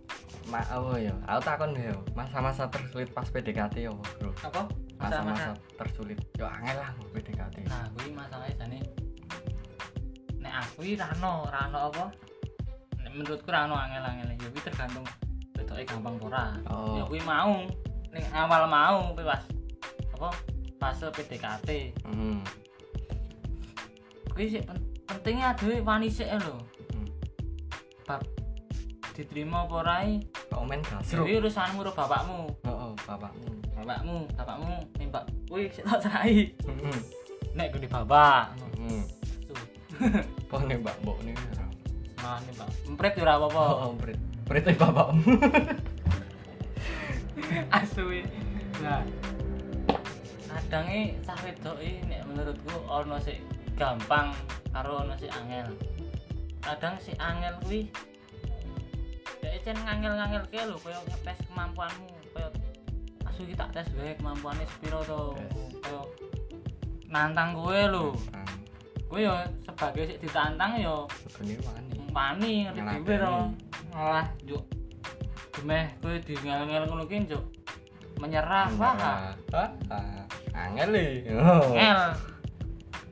Speaker 1: ma apa ya? Aku takon ya, masa-masa tersulit pas PDKT ya, Bro.
Speaker 2: Apa? Masa-masa.
Speaker 1: Masa-masa tersulit. Yo angel lah mau PDKT.
Speaker 2: Nah, kuwi masalahnya jane nek aku iki rano, rano apa? Nek menurutku rano angel-angel ya kuwi tergantung wedoke gampang apa ora.
Speaker 1: Oh.
Speaker 2: Ya kuwi mau ning awal mau kuwi pas apa? Fase PDKT.
Speaker 1: Hmm.
Speaker 2: Kuwi sik pen- pentingnya dhewe wani sik lho.
Speaker 1: Hmm.
Speaker 2: Bab diterima apa ora iki,
Speaker 1: Komen Oh, kasro.
Speaker 2: kuwi urusanmu karo bapakmu.
Speaker 1: Heeh, bapakmu.
Speaker 2: bapakmu bapakmu nembak wih sik tak cerai
Speaker 1: Heeh.
Speaker 2: nek gede bapak
Speaker 1: Heeh.
Speaker 2: tuh
Speaker 1: Po nih hmm. Mbak Mbok ya. nih. ora.
Speaker 2: malah nembak empret ora apa-apa
Speaker 1: Oh, oh, Prit. Prit eh, bapakmu.
Speaker 2: asu wih. Nah, kadangnya cah wedok iki nek menurutku ono sing gampang karo ono sing angel. Kadang si angel kuwi dhek cen ngangel-ngangel ke lho koyo ngetes kemampuanmu, koyo asu iki tak tes wae kemampuannya sepiro to.
Speaker 1: Tes.
Speaker 2: Koyo nantang kowe lho.
Speaker 1: Nah,
Speaker 2: Kowe yo sebagai sik ditantang yo
Speaker 1: sebenarnya wani.
Speaker 2: wani ngerti
Speaker 1: Ngelatih.
Speaker 2: dhewe to. Malah juk gemeh kowe di ngel-ngel ngono ki juk menyerah Ah, wah Eh.
Speaker 1: Wah, wah, wah. Ah, angel le. Oh,
Speaker 2: ngel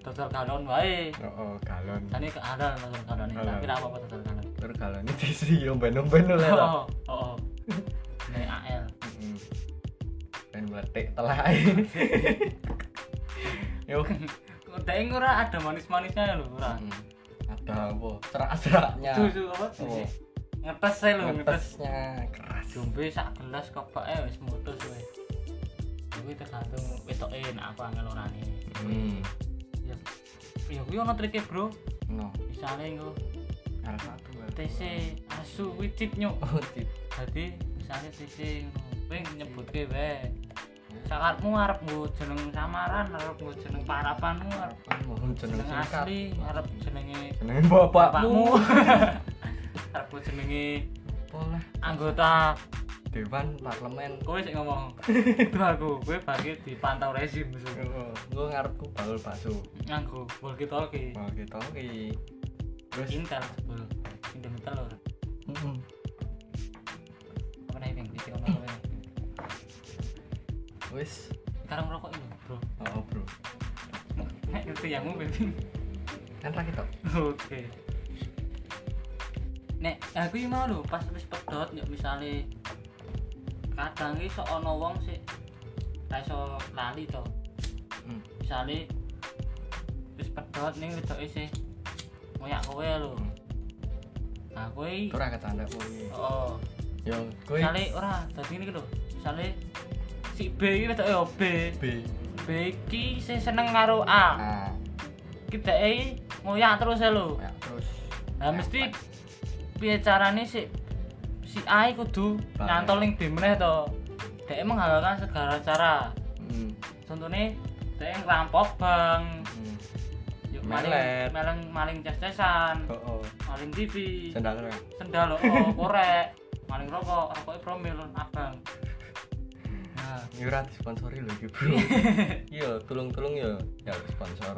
Speaker 2: dodol galon wae
Speaker 1: Oh, oh, galon.
Speaker 2: tadi ke ada dodol galon ini
Speaker 1: Halal.
Speaker 2: tapi apa apa dodol galon
Speaker 1: Terus galon itu sih omben-omben lho.
Speaker 2: oh
Speaker 1: lah.
Speaker 2: oh, oh ini AL
Speaker 1: Mm-mm. Pengen meletik telah. Ya Yo.
Speaker 2: udah ini ora ada manis-manisnya lho ora
Speaker 1: Mm. Ada apa? Serak-seraknya.
Speaker 2: susu apa
Speaker 1: Oh.
Speaker 2: sih ngetes saya lho Iya. ngetes
Speaker 1: Ngetesnya keras.
Speaker 2: jombe sak gelas kebak eh wis mutus weh tapi tergantung wetoke nek aku angel ora nih
Speaker 1: Hmm.
Speaker 2: ya ya kuwi ono triknya bro
Speaker 1: No.
Speaker 2: misalnya nggo
Speaker 1: R1
Speaker 2: TC asu kuwi tip nyuk
Speaker 1: Oh, tip.
Speaker 2: dadi misalnya TC ngono kowe nyebutke wae Sakarmu arep nggo jeneng samaran, arep nggo jeneng parapanmu, arep
Speaker 1: Harapan Ah, mohon jeneng
Speaker 2: jeneng
Speaker 1: singkat.
Speaker 2: asli, arep jenenge
Speaker 1: Jeneng bapakmu.
Speaker 2: bapakmu. arep nggo jenenge
Speaker 1: Boleh.
Speaker 2: anggota.
Speaker 1: Dewan parlemen.
Speaker 2: Kowe sik ngomong. Itu aku, kowe bagi dipantau rezim musuh.
Speaker 1: Oh, Gue ngarepku bakul bakso.
Speaker 2: Nganggo walkie-talkie,
Speaker 1: Bakul kita oke. Terus
Speaker 2: Intel sebel. Indomie telur.
Speaker 1: Mm-mm.
Speaker 2: Apa nih ping iki ngomong kowe.
Speaker 1: wis.
Speaker 2: Sekarang rokok ini, Bro.
Speaker 1: Oh, bro.
Speaker 2: Nek ngerti yang mu Ping.
Speaker 1: Kan ra ketok.
Speaker 2: Oke. Nek aku iki mau lho pas wis pedot yo misale kadang iki sok ana wong sik ra iso lali to.
Speaker 1: Hmm.
Speaker 2: Misale wis pedot ning wedoke sih ngoyak kowe lho. Nah kowe iki-
Speaker 1: Itu ra kecanda kuwi.
Speaker 2: oh,
Speaker 1: iya. Yo, kuwi
Speaker 2: misale ora dadi ngene iki lho. Misale si B iki wedoke yo B.
Speaker 1: B.
Speaker 2: B iki sing seneng karo A.
Speaker 1: Nah,
Speaker 2: Kitake ngoyak terus ya lho.
Speaker 1: ya, terus
Speaker 2: Nah mesti piye carane si si A iki kudu
Speaker 1: Bang.
Speaker 2: nyantol ning B meneh to. Dhek menghalalkan segala cara.
Speaker 1: Hmm,
Speaker 2: Contone dhek ngerampok bang,
Speaker 1: hmm.
Speaker 2: yuk
Speaker 1: Melet.
Speaker 2: maling maling maling ces-cesan,
Speaker 1: Oh, oh.
Speaker 2: maling TV,
Speaker 1: Sendal ra.
Speaker 2: sendal oh, korek, maling rokok, rokoknya promil abang. Nah,
Speaker 1: Ini ora disponsori lho iki, Bro. Iya, tulung-tulung yo ya sponsor.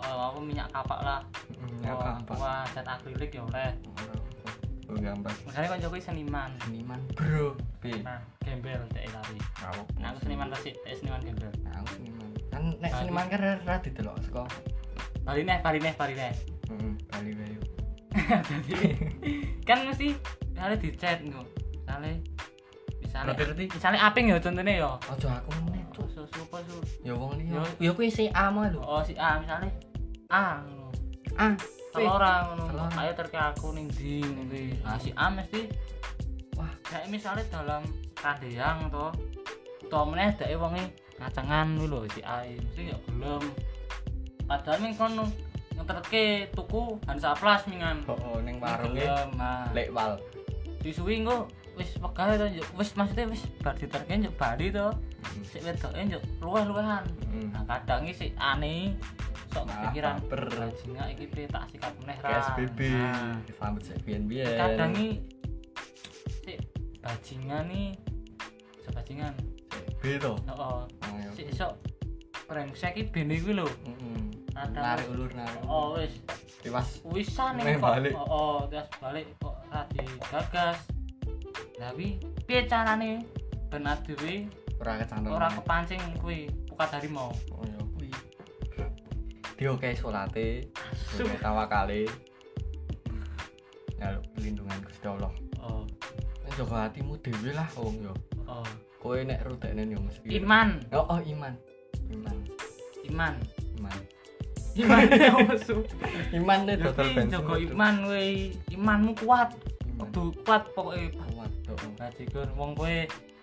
Speaker 2: oh, apa minyak kapak lah.
Speaker 1: Hmm, Ya
Speaker 2: Oh,
Speaker 1: apa?
Speaker 2: Wah, cat akrilik ya oleh.
Speaker 1: Oh, gambar
Speaker 2: Misalnya kan Jokowi seniman.
Speaker 1: seniman, Bro. B.
Speaker 2: Nah, gembel dhek lari.
Speaker 1: Ngawuk.
Speaker 2: Nah, aku seniman resik, dhek seniman gembel.
Speaker 1: Nah, aku seniman. Kan nek seniman kan ra- ra didelok saka.
Speaker 2: Bali neh, bali neh, bali neh.
Speaker 1: Heeh, Bali wae. yuk.
Speaker 2: Jadi, kan mesti misalnya di chat ngono. Misalnya misalnya
Speaker 1: Berarti-berarti?
Speaker 2: misalnya aping ya contohnya ya.
Speaker 1: Ojo aku meneh,
Speaker 2: Itu
Speaker 1: Cuk.
Speaker 2: su supo su.
Speaker 1: Ya wong liya.
Speaker 2: Yo-
Speaker 1: Ya kuwi si A mah lho.
Speaker 2: Oh si A misalnya A ngono.
Speaker 1: A.
Speaker 2: Kalau orang ngono,
Speaker 1: Telor.
Speaker 2: ayo terke aku ning ndi ngono kuwi. Nah si A mesti
Speaker 1: Wah.
Speaker 2: kayak misalnya dalam kadeang to. Utawa meneh dhek wonge ngacengan kuwi lho si A ini. mesti ya gelem. Padahal ning kono ngeterke tuku Hansa Plus mingan.
Speaker 1: Oh, ning warunge
Speaker 2: Gelem, nah.
Speaker 1: lek wal.
Speaker 2: disuwi engko wis pegawe to njuk wis maksudnya wis bar diterke njuk Bali to sik wedoke njuk luweh-luwehan
Speaker 1: Heeh.
Speaker 2: nah kadang iki sik aneh sok
Speaker 1: Malah
Speaker 2: kepikiran
Speaker 1: baper.
Speaker 2: bajinga iki piye tak sikat meneh ra
Speaker 1: PSBB Ah,
Speaker 2: Nah,
Speaker 1: disambut sik biyen-biyen.
Speaker 2: kadang iki sik bajingan nih sok bajingan
Speaker 1: B to.
Speaker 2: heeh
Speaker 1: Oh, ya.
Speaker 2: sik sok brengsek iki bene kuwi lho
Speaker 1: Mm-mm.
Speaker 2: Ada-
Speaker 1: Narik ulur narik.
Speaker 2: oh wis
Speaker 1: Tiwas.
Speaker 2: wisan
Speaker 1: Neng
Speaker 2: nih
Speaker 1: balik.
Speaker 2: kok oh, oh gas balik kok tadi gagas tapi piye carane benar dhewe
Speaker 1: Ora kecantol.
Speaker 2: ora kepancing kuwi buka dari mau
Speaker 1: Oh ya kuwi. Diokei salate, diokei tawakale. Nyaluk perlindungan Gusti Allah.
Speaker 2: oh
Speaker 1: Nek jaga hatimu dhewe lah wong yo.
Speaker 2: oh
Speaker 1: Kowe nek rudakne yo mesti.
Speaker 2: iman
Speaker 1: Oh, oh iman. Iman.
Speaker 2: iman
Speaker 1: Iman.
Speaker 2: iman ya maksud
Speaker 1: Iman deh total
Speaker 2: tapi
Speaker 1: bensin.
Speaker 2: jaga iman kuwi imanmu kuat
Speaker 1: Ya, Iman.
Speaker 2: kudu kuat pokoke
Speaker 1: Kuat tuh.
Speaker 2: gaji gur wong kowe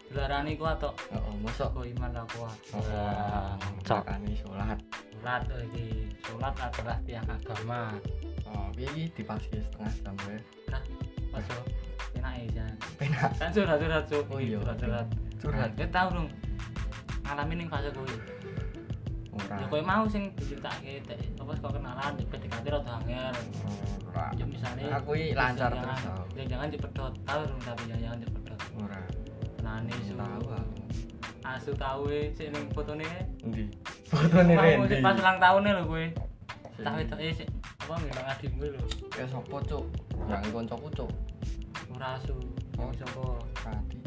Speaker 2: dilarani kuat tok
Speaker 1: Oh, oh, mosok.
Speaker 2: kok iman ra kuat
Speaker 1: Oh,
Speaker 2: Wah,
Speaker 1: cok. sholat.
Speaker 2: salat tuh iki salat adalah tiang agama
Speaker 1: Oh, piye iki dipasih setengah jam ya. wae.
Speaker 2: masuk enak ya Jan.
Speaker 1: Penak.
Speaker 2: kan curhat curhat cuk
Speaker 1: Oh iya.
Speaker 2: curhat curhat
Speaker 1: Curhat.
Speaker 2: kita tahu dong ngalami ning fase kuwi.
Speaker 1: ora Nah.
Speaker 2: Ya kowe mau sing diceritake tek apa kok kenalan di PDKT rada angel.
Speaker 1: ora
Speaker 2: Ya misalnya
Speaker 1: aku iki lancar
Speaker 2: jangan-
Speaker 1: terus tau
Speaker 2: Ya jangan dipedot, tahu dong, tapi jangan jangan dipedot.
Speaker 1: ora
Speaker 2: Nani su.
Speaker 1: tahu aku
Speaker 2: Asu tahu e sik ning fotone.
Speaker 1: endi fotone
Speaker 2: Mau
Speaker 1: Randy
Speaker 2: sik pas ulang tahunnya lho kowe.
Speaker 1: Sik.
Speaker 2: Tahu itu eh sik apa ngilang adikmu lho.
Speaker 1: ya sapa cuk yang kancaku cuk
Speaker 2: Ora asu.
Speaker 1: Oh.
Speaker 2: Yang sapa?
Speaker 1: Kati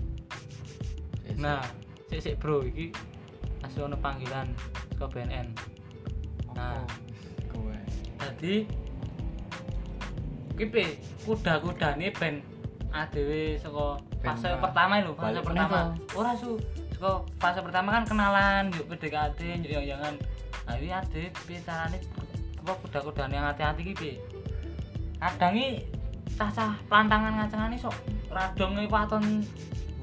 Speaker 2: Nah, sik sik bro iki asu ono panggilan ke BNN. nah.
Speaker 1: kowe
Speaker 2: Dadi kipe kuda-kudane ben adewe saka
Speaker 1: Ben
Speaker 2: fase
Speaker 1: apa?
Speaker 2: pertama lho, fase
Speaker 1: Balik
Speaker 2: pertama.
Speaker 1: meneh
Speaker 2: Ora su, saka fase pertama kan kenalan, yuk PDKT, yuk yang jangan. Nah, iki adewe piye carane apa kuda-kudane yang hati-hati iki piye? Kadang iki cacah plantangan ngacengane sok radonge waton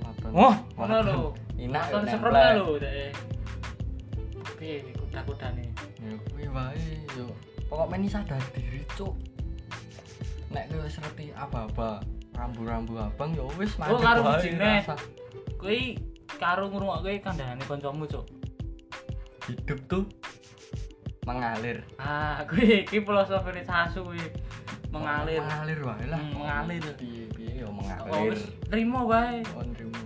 Speaker 1: waton
Speaker 2: Oh, ngono lho.
Speaker 1: Inak
Speaker 2: Waton
Speaker 1: yo
Speaker 2: seprot
Speaker 1: nempel.
Speaker 2: lho dek. Piye iki kuda-kudane?
Speaker 1: ya kuwi wae yo pokok meni sadar diri cuk nek kowe wis reti apa-apa rambu-rambu abang yo wis
Speaker 2: Oh,
Speaker 1: mandek
Speaker 2: karo
Speaker 1: wae
Speaker 2: bujine.
Speaker 1: rasa
Speaker 2: Kuwi karo ngrungokke kandhane kancamu, Cuk.
Speaker 1: hidup tuh mengalir
Speaker 2: Ah, kuwi iki filosofi Sasu kuwi mengalir.
Speaker 1: mengalir wae lah
Speaker 2: Hmm, mengalir.
Speaker 1: piye piye yo
Speaker 2: Kok
Speaker 1: mengalir
Speaker 2: wis trimo wae.
Speaker 1: on rimu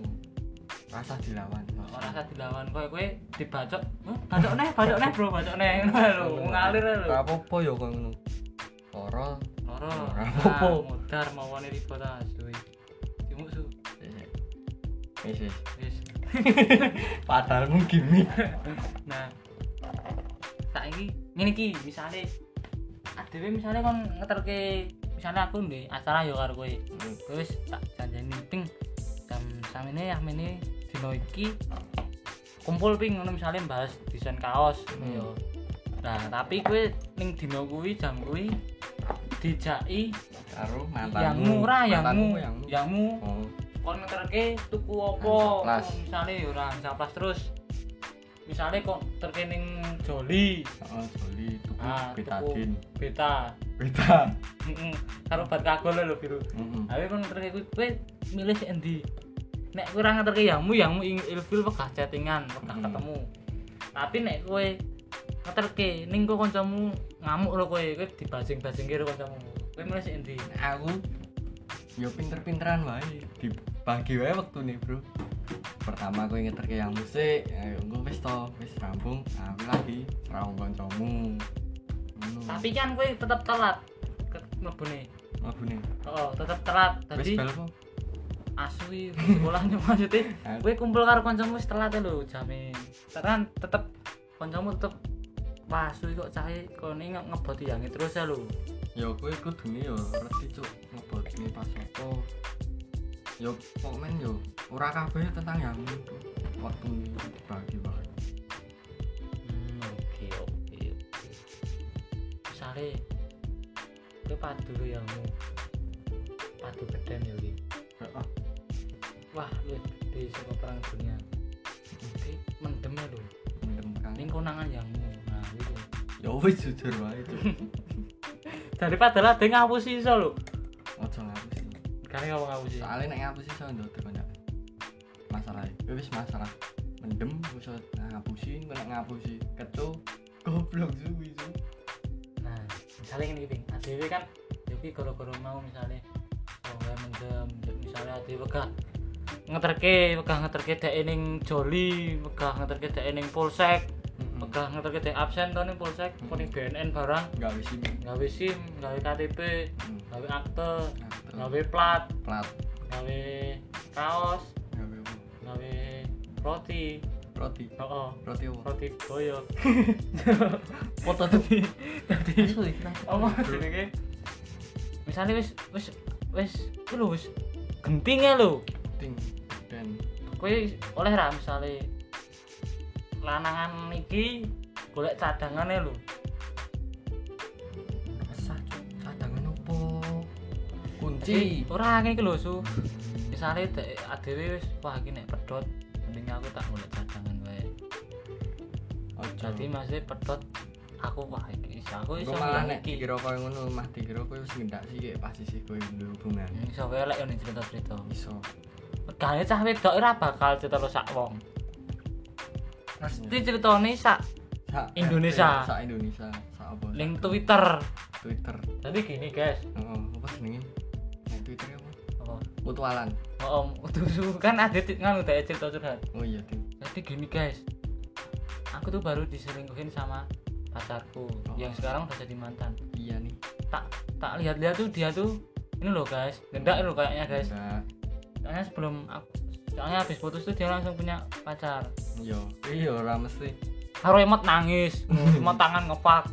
Speaker 1: rasa dilawan
Speaker 2: Ora usah dilawan kowe kowe dibacok. "Hah, Bacok neh, bacok neh, Bro, bacok neh. Ngono ae lho, mengalir ae lho.
Speaker 1: Ora apa-apa yo kok ngono lara
Speaker 2: Loro.
Speaker 1: Ora
Speaker 2: Ah,
Speaker 1: apa-apa.
Speaker 2: Mudar mawane riba ta, suwi. Cimuk su.
Speaker 1: wis wis
Speaker 2: Wis.
Speaker 1: padahal gini
Speaker 2: Nah. Saiki ngene iki, misale adewe misale kon ngeterke misale aku ndek acara yo karo kowe. Kowe wis tak janjani ping jam samene ya mene dina iki kumpul ping ngono misale bahas desain kaos
Speaker 1: Hmm.
Speaker 2: ngono yo. Nah, tapi kowe ning dina kuwi jam kuwi dijaki
Speaker 1: karo
Speaker 2: yang
Speaker 1: mantanmu Nah,
Speaker 2: murah
Speaker 1: Mantanku
Speaker 2: yangmu
Speaker 1: yangmu.
Speaker 2: yangmu
Speaker 1: Oh,
Speaker 2: kon ngeterke tuku
Speaker 1: Ransaplas.
Speaker 2: opo misale yo ya ora saplas terus misale kok terke ning Joli
Speaker 1: oh, joli tuku
Speaker 2: Ah, tuku.
Speaker 1: betadin
Speaker 2: beta
Speaker 1: beta
Speaker 2: heeh karo bar kagol lho biru
Speaker 1: Mm-mm.
Speaker 2: Awe kon ngeterke kuwi kan kowe milih sik endi? Nek kowe ora ya, ngeterke yamu, yamu ing ilfil wegah chattingan, wegah
Speaker 1: Hmm.
Speaker 2: ketemu. Tapi nek kowe ngeterke ning kok kancamu ngamuk lho kowe, kowe dibajing-bajing karo kancamu. Kowe milih sik endi?
Speaker 1: aku yo pinter-pinteran wae dibagi wae waktu nih bro pertama aku inget terke yang musik ayo gue wis to wis rampung ambil lagi serang kancamu ngono
Speaker 2: Tapi kan kowe tetep telat ke mlebune.
Speaker 1: aku nih
Speaker 2: Heeh, tetep telat.
Speaker 1: wis
Speaker 2: Dadi
Speaker 1: bel po
Speaker 2: asli sekolah nyo maksudnya
Speaker 1: Kan.
Speaker 2: kowe kumpul karo kancamu wis telat ya lho jame. Tekan tetep kancamu tetep Wah, suwi kok cahe kone nge- ngeboti yangi terus ya lho.
Speaker 1: yo kowe kudune yo reti cuk ngebotne pas apa yo pok men yo ora kabeh tentang yang itu waktu nih bagi wae
Speaker 2: Hmm, oke oke oke misalnya gue padu lo yang mau padu beden ya iki.
Speaker 1: Heeh.
Speaker 2: wah lu di saka perang dunia oke mendem ya lu
Speaker 1: mendem kang
Speaker 2: ini konangan yang mau nah itu
Speaker 1: yo wis jujur wae cuk
Speaker 2: daripada lah dia ngapusi iso lu
Speaker 1: ojo ngapusi
Speaker 2: kali ngomong ngapusi
Speaker 1: soalnya nek ngapusi iso ndok kanca masalah ya wis masalah mendem iso ngapusi engko nek ngapusi kecu goblok suwi su
Speaker 2: nah misalnya ini ping adewe kan jadi gara-gara mau misalnya oh gue mendem Yuk, misalnya adewe wegah ngeterke wegah ngeterke dek ning joli wegah ngeterke dek ning polsek
Speaker 1: Hmm.
Speaker 2: wegah ngeterke dek absen to ning polsek
Speaker 1: Mm.
Speaker 2: apa ning BNN barang
Speaker 1: enggak wis ini
Speaker 2: gawe SIM gawe KTP
Speaker 1: Mm.
Speaker 2: gawe akte
Speaker 1: Nah, terus
Speaker 2: gawe plat
Speaker 1: plat
Speaker 2: gawe kaos
Speaker 1: gawe apa?
Speaker 2: gawe roti
Speaker 1: roti
Speaker 2: oh, oh.
Speaker 1: roti apa
Speaker 2: roti boyo
Speaker 1: foto tadi
Speaker 2: Dadi- apa jenenge misalnya wis wis wis ku lho wis gentinge lho
Speaker 1: ting dan
Speaker 2: kowe oleh ra misale lanangan iki golek cadangane lho
Speaker 1: resah cuk cadangan opo kunci
Speaker 2: Jadi, ora ngene iki lho su misale dek adewe wis wah iki nek pedhot mending aku tak golek cadangan wae
Speaker 1: ojo
Speaker 2: jadi maksudnya pedhot aku wah iki iso aku iso
Speaker 1: Gue malah
Speaker 2: ngilang
Speaker 1: nek
Speaker 2: iki
Speaker 1: dikira koyo ngono, mah dikira koyo wis ngendak sih kayak pasti sih koyo duwe hubungan.
Speaker 2: Hmm, iso wae lek yo ning cerita-cerita
Speaker 1: Iso.
Speaker 2: Regane cah wedok ora bakal cerita rusak wong. mesti ceritane sak
Speaker 1: Sa eh,
Speaker 2: Indonesia.
Speaker 1: Sa Indonesia. Sa apa?
Speaker 2: link Twitter.
Speaker 1: Twitter.
Speaker 2: Jadi gini, guys.
Speaker 1: Heeh, apa senengnya? Nah, Twitter apa?
Speaker 2: Apa?
Speaker 1: Mutualan.
Speaker 2: Oh, om, tuh kan ada ti- nganu teh cerita curhat.
Speaker 1: Oh iya, Tim.
Speaker 2: Jadi gini, guys. Aku tuh baru diselingkuhin sama pacarku
Speaker 1: Oh.
Speaker 2: yang sekarang udah jadi mantan.
Speaker 1: Iya nih.
Speaker 2: Tak tak lihat-lihat tuh dia tuh ini loh, guys. Gendak loh kayaknya, Iya, guys.
Speaker 1: Nah,
Speaker 2: Soalnya sebelum aku soalnya habis putus tuh dia langsung punya pacar.
Speaker 1: Iya. Iya ora mesti.
Speaker 2: Karo emot nangis,
Speaker 1: Hmm.
Speaker 2: emot tangan ngepak.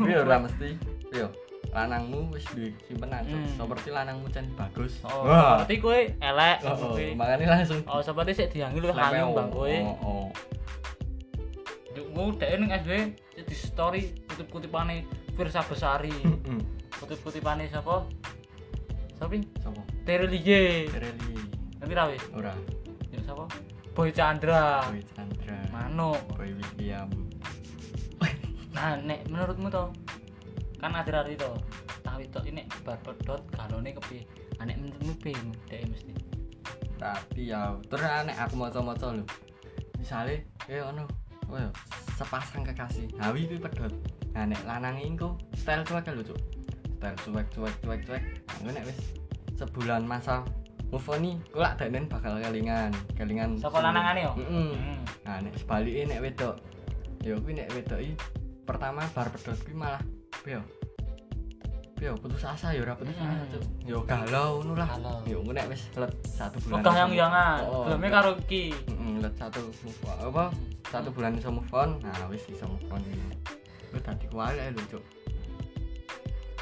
Speaker 1: Iya ora mesti. Iya. Lanangmu wis duwe simpenan. Cuk.
Speaker 2: Hmm.
Speaker 1: Seperti lanangmu can bagus.
Speaker 2: Oh,
Speaker 1: Wah.
Speaker 2: berarti kowe elek
Speaker 1: Oh,
Speaker 2: kowe.
Speaker 1: oh, makanya langsung
Speaker 2: Oh, seperti sik diangi lu
Speaker 1: Slameo.
Speaker 2: hanyu bang kowe.
Speaker 1: Oh, oh.
Speaker 2: Dukmu dhek ning SD sik di story kutip-kutipane Firsa Besari,
Speaker 1: Mm-mm.
Speaker 2: kutip-kutipane sapa? Sapa?
Speaker 1: Sopo?
Speaker 2: Terlie.
Speaker 1: Pirelli.
Speaker 2: Nanti ra wis.
Speaker 1: Ora.
Speaker 2: Yo sapa? Boy Chandra.
Speaker 1: Boy Chandra.
Speaker 2: Mano.
Speaker 1: Boy William.
Speaker 2: Nah, nek menurutmu to? Kan akhir-akhir to. Tak wedok ini bar pedot galone kepiye? Ah, nek menurutmu piye dhek mesti?
Speaker 1: Tapi ya terus aneh aku maca-maca lho. Misale kayak ono oh ya, sepasang kekasih. Hawi kuwi pedot. Nah nek lanang iku style cuek lho, Cuk. Style cuek cuek cuek cuek. Anggo nek wis sebulan masa move on nih, kulak danen bakal kelingan, kelingan.
Speaker 2: Sapa lanangane yo?
Speaker 1: Heeh.
Speaker 2: Hmm.
Speaker 1: Nah, nek sebaliknya nek wedok. Ya kuwi nek wedok i pertama bar pedot kuwi malah piye? ya? Piye ya, putus asa ya ora putus asa,
Speaker 2: Mm-mm.
Speaker 1: Cuk. Ya galau ngono lah.
Speaker 2: Galau.
Speaker 1: Ya ngono nek wis let satu bulan.
Speaker 2: Udah yang jangan,
Speaker 1: Oh,
Speaker 2: belumnya
Speaker 1: let-
Speaker 2: e karo ki.
Speaker 1: Mm-mm, let satu move on, apa? Satu bulan iso move on. Nah, wis iso move on iki. Lu tadi kuwale lho, Cuk.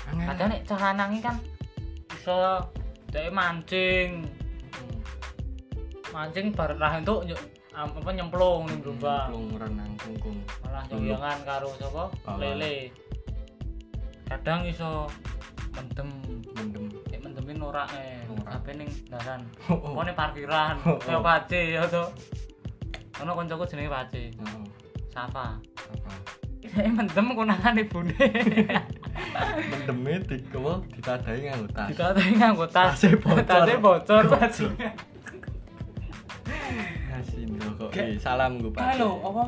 Speaker 1: Angel.
Speaker 2: Kadang nek cara nangi kan iso dhek mancing,
Speaker 1: Mm,
Speaker 2: mancing bar lah entuk nyuk am- apa nyemplung ning gelombang.
Speaker 1: Kungkung renang kungkung.
Speaker 2: Malah yoyangan karo sapa?
Speaker 1: Bawa.
Speaker 2: Lele. Kadang iso mendem,
Speaker 1: Mendem.
Speaker 2: nek mendemin ora e,
Speaker 1: Norak.
Speaker 2: kabeh ning dalan.
Speaker 1: Oh, oh.
Speaker 2: Pone parkiran,
Speaker 1: Oh, oh.
Speaker 2: kaya pace ya to. Ono kancaku jenenge pace,
Speaker 1: Oh,
Speaker 2: Safa.
Speaker 1: apa?
Speaker 2: Dhek mendem konangan ibune.
Speaker 1: Mendemnya dikewo ditadai nganggo tas.
Speaker 2: Ditatai nganggo tas.
Speaker 1: Tasnya bocor.
Speaker 2: Tasnya bocor
Speaker 1: Bocor.
Speaker 2: bajunya.
Speaker 1: Hasindo kok.
Speaker 2: Ge-
Speaker 1: Eh, salam gue
Speaker 2: Kan lho, apa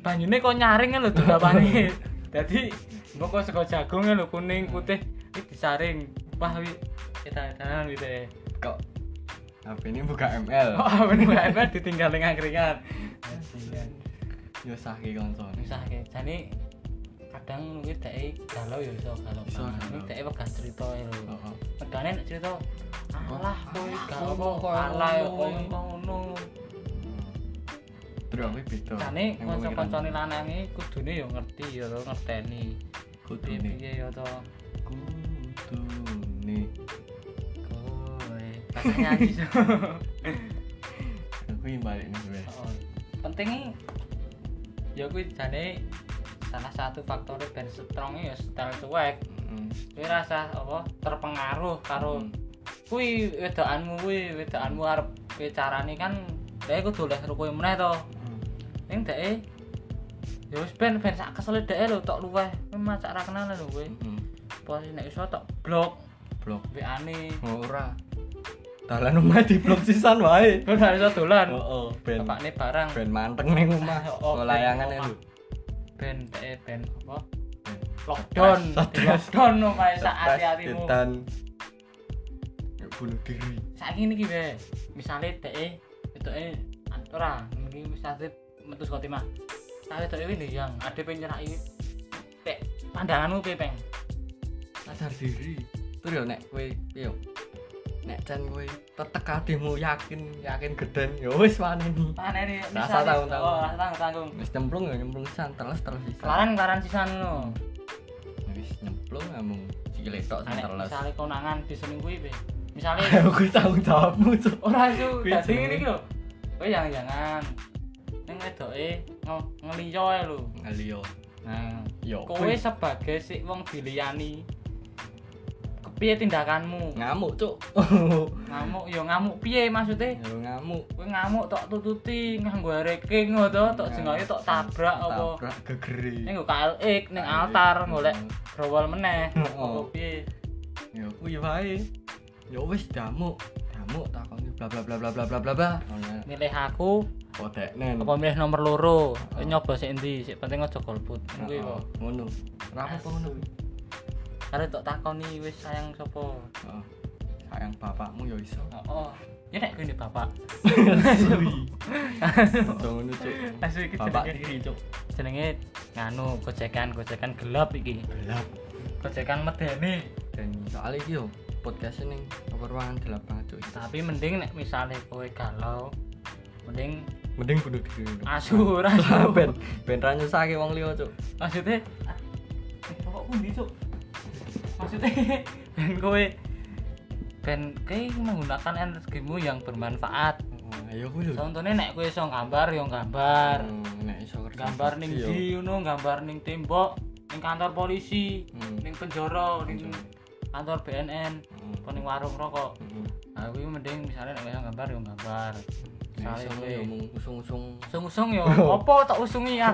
Speaker 2: banyune kok nyaring kan lho dilapani. Dadi engko kok sego jagung kan lho kuning putih iki disaring. Wah wi edan-edanan wi teh.
Speaker 1: Kok HP ini buka ML.
Speaker 2: Kok awen wae ditinggal ning angkringan.
Speaker 1: Yo saking kancan.
Speaker 2: Misahke jane kadang mungkin dhek galau ya iso galau.
Speaker 1: Iso
Speaker 2: banget.
Speaker 1: galau. Oh.
Speaker 2: Ini dhek wegah cerita ya lho.
Speaker 1: Heeh.
Speaker 2: Tegane nek cerita alah kowe
Speaker 1: alah,
Speaker 2: galau
Speaker 1: kowe
Speaker 2: kok
Speaker 1: kok
Speaker 2: alah ya, kowe
Speaker 1: ngono."
Speaker 2: kok ngono.
Speaker 1: Terus aku beda. kan-
Speaker 2: Jane kanca-kancane lanange kudune ya ngerti ya lho, ngerteni.
Speaker 1: kudune.
Speaker 2: Piye ya to.
Speaker 1: Kudune.
Speaker 2: Kuy, kakak nyanyi so.
Speaker 1: Aku yang balik nih gue.
Speaker 2: Oh, pentingnya ya kuwi jane salah satu faktornya ben strongnya ya style cuek
Speaker 1: Mm.
Speaker 2: kuwi rasa apa terpengaruh karo
Speaker 1: Mm.
Speaker 2: kuwi wedokanmu kuwi wedokanmu arep kuwi carane kan dhek kudu oleh rukuhe meneh to ning dhek e, ya wis ben ben sak kesel dhek e lho tok luweh kuwi macak ra kenal e lho kuwi
Speaker 1: Mm-mm.
Speaker 2: posisi nek iso tok blok
Speaker 1: Blok.
Speaker 2: WA-ne
Speaker 1: Oh, Ora. Dalan omah di blok sisan wae.
Speaker 2: ben ra iso dolan
Speaker 1: Heeh, Oh, ben
Speaker 2: bapakne barang
Speaker 1: ben manteng ning omah. Oh,
Speaker 2: Oh, ben
Speaker 1: layangan
Speaker 2: omah.
Speaker 1: lho.
Speaker 2: ben teh ben apa
Speaker 1: Ben.
Speaker 2: lockdown
Speaker 1: Stres,
Speaker 2: Di
Speaker 1: stres.
Speaker 2: lockdown no kae sak
Speaker 1: Stres,
Speaker 2: hati-hatimu
Speaker 1: Dan Yuk, bunuh diri.
Speaker 2: saiki niki wae misale teh etoke ora niki wis asih metu saka timah tapi teh iki ndiyang ade penyerah iki tek pandanganmu piye peng
Speaker 1: sadar diri terus ya nek kowe piye yo? nek jan kowe tetek ademu yakin yakin geden ya wis waneni
Speaker 2: panene
Speaker 1: Rasa tanggung-tanggung.
Speaker 2: oh rasa tanggung tanggung
Speaker 1: wis nyemplung ya nyemplung san teles teles sisan
Speaker 2: kelaran kelaran sisan no
Speaker 1: wis nyemplung amung cilik tok san
Speaker 2: nek
Speaker 1: teles
Speaker 2: misale konangan diselingkuhi piye misale
Speaker 1: aku tanggung jawabmu cuk
Speaker 2: ora iso
Speaker 1: Kuwi
Speaker 2: dadi
Speaker 1: jenenge.
Speaker 2: ngene iki lho kowe jangan-jangan ning wedoke nge- ngeliyo ae lho
Speaker 1: ngaliyo
Speaker 2: nah
Speaker 1: yo
Speaker 2: kowe sebagai si wong diliyani kepiye tindakanmu
Speaker 1: ngamuk cuk
Speaker 2: ngamuk ya ngamuk piye maksudnya
Speaker 1: yo ngamuk
Speaker 2: kowe ngamuk tok tututi nganggo reking ngono to, tok jenenge tok tabrak apa
Speaker 1: tabrak gegere
Speaker 2: ning nggo KLX ning
Speaker 1: KLX.
Speaker 2: altar golek growol meneh
Speaker 1: Heeh.
Speaker 2: apa piye
Speaker 1: yo kuwi wae yo wis damuk damuk takoni bla bla bla bla bla bla bla bla
Speaker 2: milih aku
Speaker 1: kok deknen
Speaker 2: apa milih nomor loro nyoba sik endi sik penting aja golput
Speaker 1: Heeh,
Speaker 2: kuwi kok
Speaker 1: Nah, ngono ra apa ngono kuwi
Speaker 2: kare tok takoni wis sayang sapa
Speaker 1: Heeh. Ah, sayang bapakmu ya iso
Speaker 2: oh ya nek kuwi bapak
Speaker 1: asli Aja ngono cuk
Speaker 2: asli iki
Speaker 1: bapak
Speaker 2: jenenge
Speaker 1: tiri cuk
Speaker 2: jenenge nganu gojekan gojekan gelap iki
Speaker 1: gelap
Speaker 2: gojekan medeni
Speaker 1: dan soalnya iki yo podcast ning nomor ruangan gelap banget cuk
Speaker 2: tapi mending nek misale kowe galau mending
Speaker 1: mending bunuh diri dulu
Speaker 2: asu ora
Speaker 1: Lah,
Speaker 2: asu.
Speaker 1: ben ben ra nyusahke wong liya cuk
Speaker 2: maksudnya ah, eh, pokok pundi cuk maksudnya ben kowe ben kowe menggunakan energimu yang bermanfaat
Speaker 1: ayo Oh, iya, kuwi lho
Speaker 2: contohnya nek kowe iso gambar yo gambar
Speaker 1: Hmm, nek iso kerja
Speaker 2: gambar
Speaker 1: bakti
Speaker 2: ning
Speaker 1: yo.
Speaker 2: di ngono gambar ning tembok ning kantor polisi
Speaker 1: Hmm.
Speaker 2: ning penjara ning
Speaker 1: Penjara.
Speaker 2: kantor BNN
Speaker 1: Hmm.
Speaker 2: apa ning warung rokok
Speaker 1: Hmm.
Speaker 2: nah kuwi mending misalnya nek kowe iso gambar yo gambar
Speaker 1: Nek
Speaker 2: misalnya
Speaker 1: iso
Speaker 2: kowe
Speaker 1: yo mung usung-usung
Speaker 2: usung-usung yo apa tak usungi ya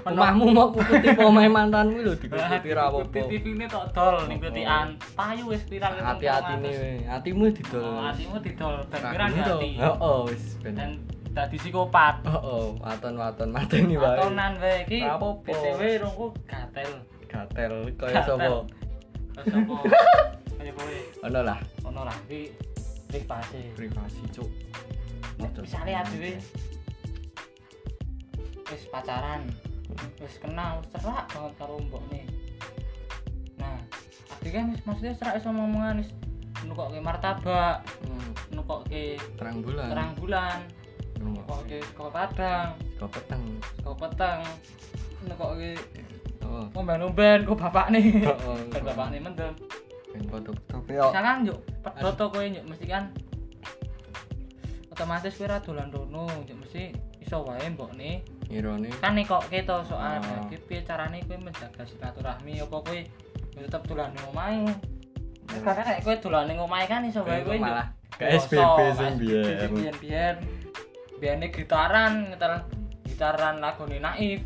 Speaker 2: Ono-
Speaker 1: Omahmu mau kutip omahe mantanmu lho dikuti
Speaker 2: Ikuti
Speaker 1: ra apa-apa.
Speaker 2: TV ini tok dol ning
Speaker 1: Apa?
Speaker 2: kutian. Payu wis viral ketemu
Speaker 1: Hati-hatine
Speaker 2: orang.
Speaker 1: we. Hatimu didol.
Speaker 2: Oh, Hatimu didol ben
Speaker 1: Kakimu
Speaker 2: kira
Speaker 1: to.
Speaker 2: ganti.
Speaker 1: Heeh wis ben.
Speaker 2: Dan dadi psikopat.
Speaker 1: Heeh, waton-waton mateni wae.
Speaker 2: Atonan wae iki.
Speaker 1: Ra apa-apa.
Speaker 2: BTW rungku gatel.
Speaker 1: Gatel kaya sapa?
Speaker 2: Gatel. Terus apa? Kaya kowe
Speaker 1: Ono lah
Speaker 2: ono lah iki privasi.
Speaker 1: privasi cuk.
Speaker 2: Nek
Speaker 1: Model.
Speaker 2: misale adewe wis pacaran. Wis kenal serak banget karo mbokne. Nah, adewe kan wis maksudnya serak iso ngomongan wis nukokke martabak,
Speaker 1: Hmm,
Speaker 2: nukokke
Speaker 1: Terang bulan.
Speaker 2: terang bulan
Speaker 1: Rumah.
Speaker 2: nukokke sego padang
Speaker 1: Kau peteng.
Speaker 2: sego peteng nukokke
Speaker 1: Oh.
Speaker 2: ngomben-ngomben ku bapakne
Speaker 1: Heeh.
Speaker 2: ben bapakne mendem
Speaker 1: Ben foto. Tapi yo.
Speaker 2: misalkan yuk pedot to kowe yuk mesti kan otomatis kowe ra dolan rono yuk mesti iso wae mbokne
Speaker 1: Ngirone
Speaker 2: kan nekokke to
Speaker 1: Ah.
Speaker 2: soal nah, iki piye carane kowe menjaga silaturahmi apa kowe yo tetep dolan ning omahe karena nek kowe dolan ning omahe kan iso wae
Speaker 1: Kok
Speaker 2: kowe yuk.
Speaker 1: malah
Speaker 2: Dewasa,
Speaker 1: KSBB sing
Speaker 2: KSBB
Speaker 1: biyen.
Speaker 2: biyen biyen biyen gitaran gitaran gitaran lagune Naif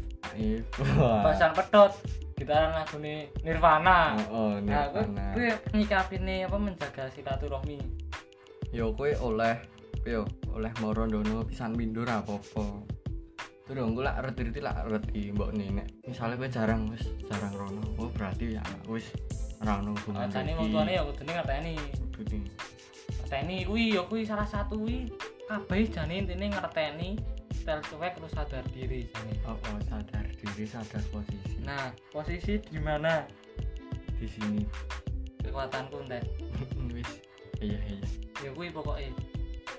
Speaker 1: Bahasa
Speaker 2: bahasan pedot gitaran lagune Nirvana
Speaker 1: Oh,
Speaker 2: nah aku
Speaker 1: Nirvana.
Speaker 2: gue nyikapinnya apa menjaga silaturahmi
Speaker 1: Yo kowe oleh yo oleh moro ndono pisan pindur apa-apa. Terus dong, gue lak reti-reti lak reti mbok nenek. Misalnya gue jarang wis jarang rono, oh berarti ya anakku wis ra ono hubungan.
Speaker 2: Kacane wong tuane ya kudune ngerteni
Speaker 1: Kudu nih.
Speaker 2: ngerteni kuwi ya kuwi salah satu kuwi kabeh jane intine ngerteni tel cuek terus sadar diri jane
Speaker 1: Oh, oh, sadar diri, sadar posisi.
Speaker 2: nah posisi di mana
Speaker 1: Di sini
Speaker 2: kekuatanku ndek
Speaker 1: wis iya iya.
Speaker 2: ya kuwi pokoknya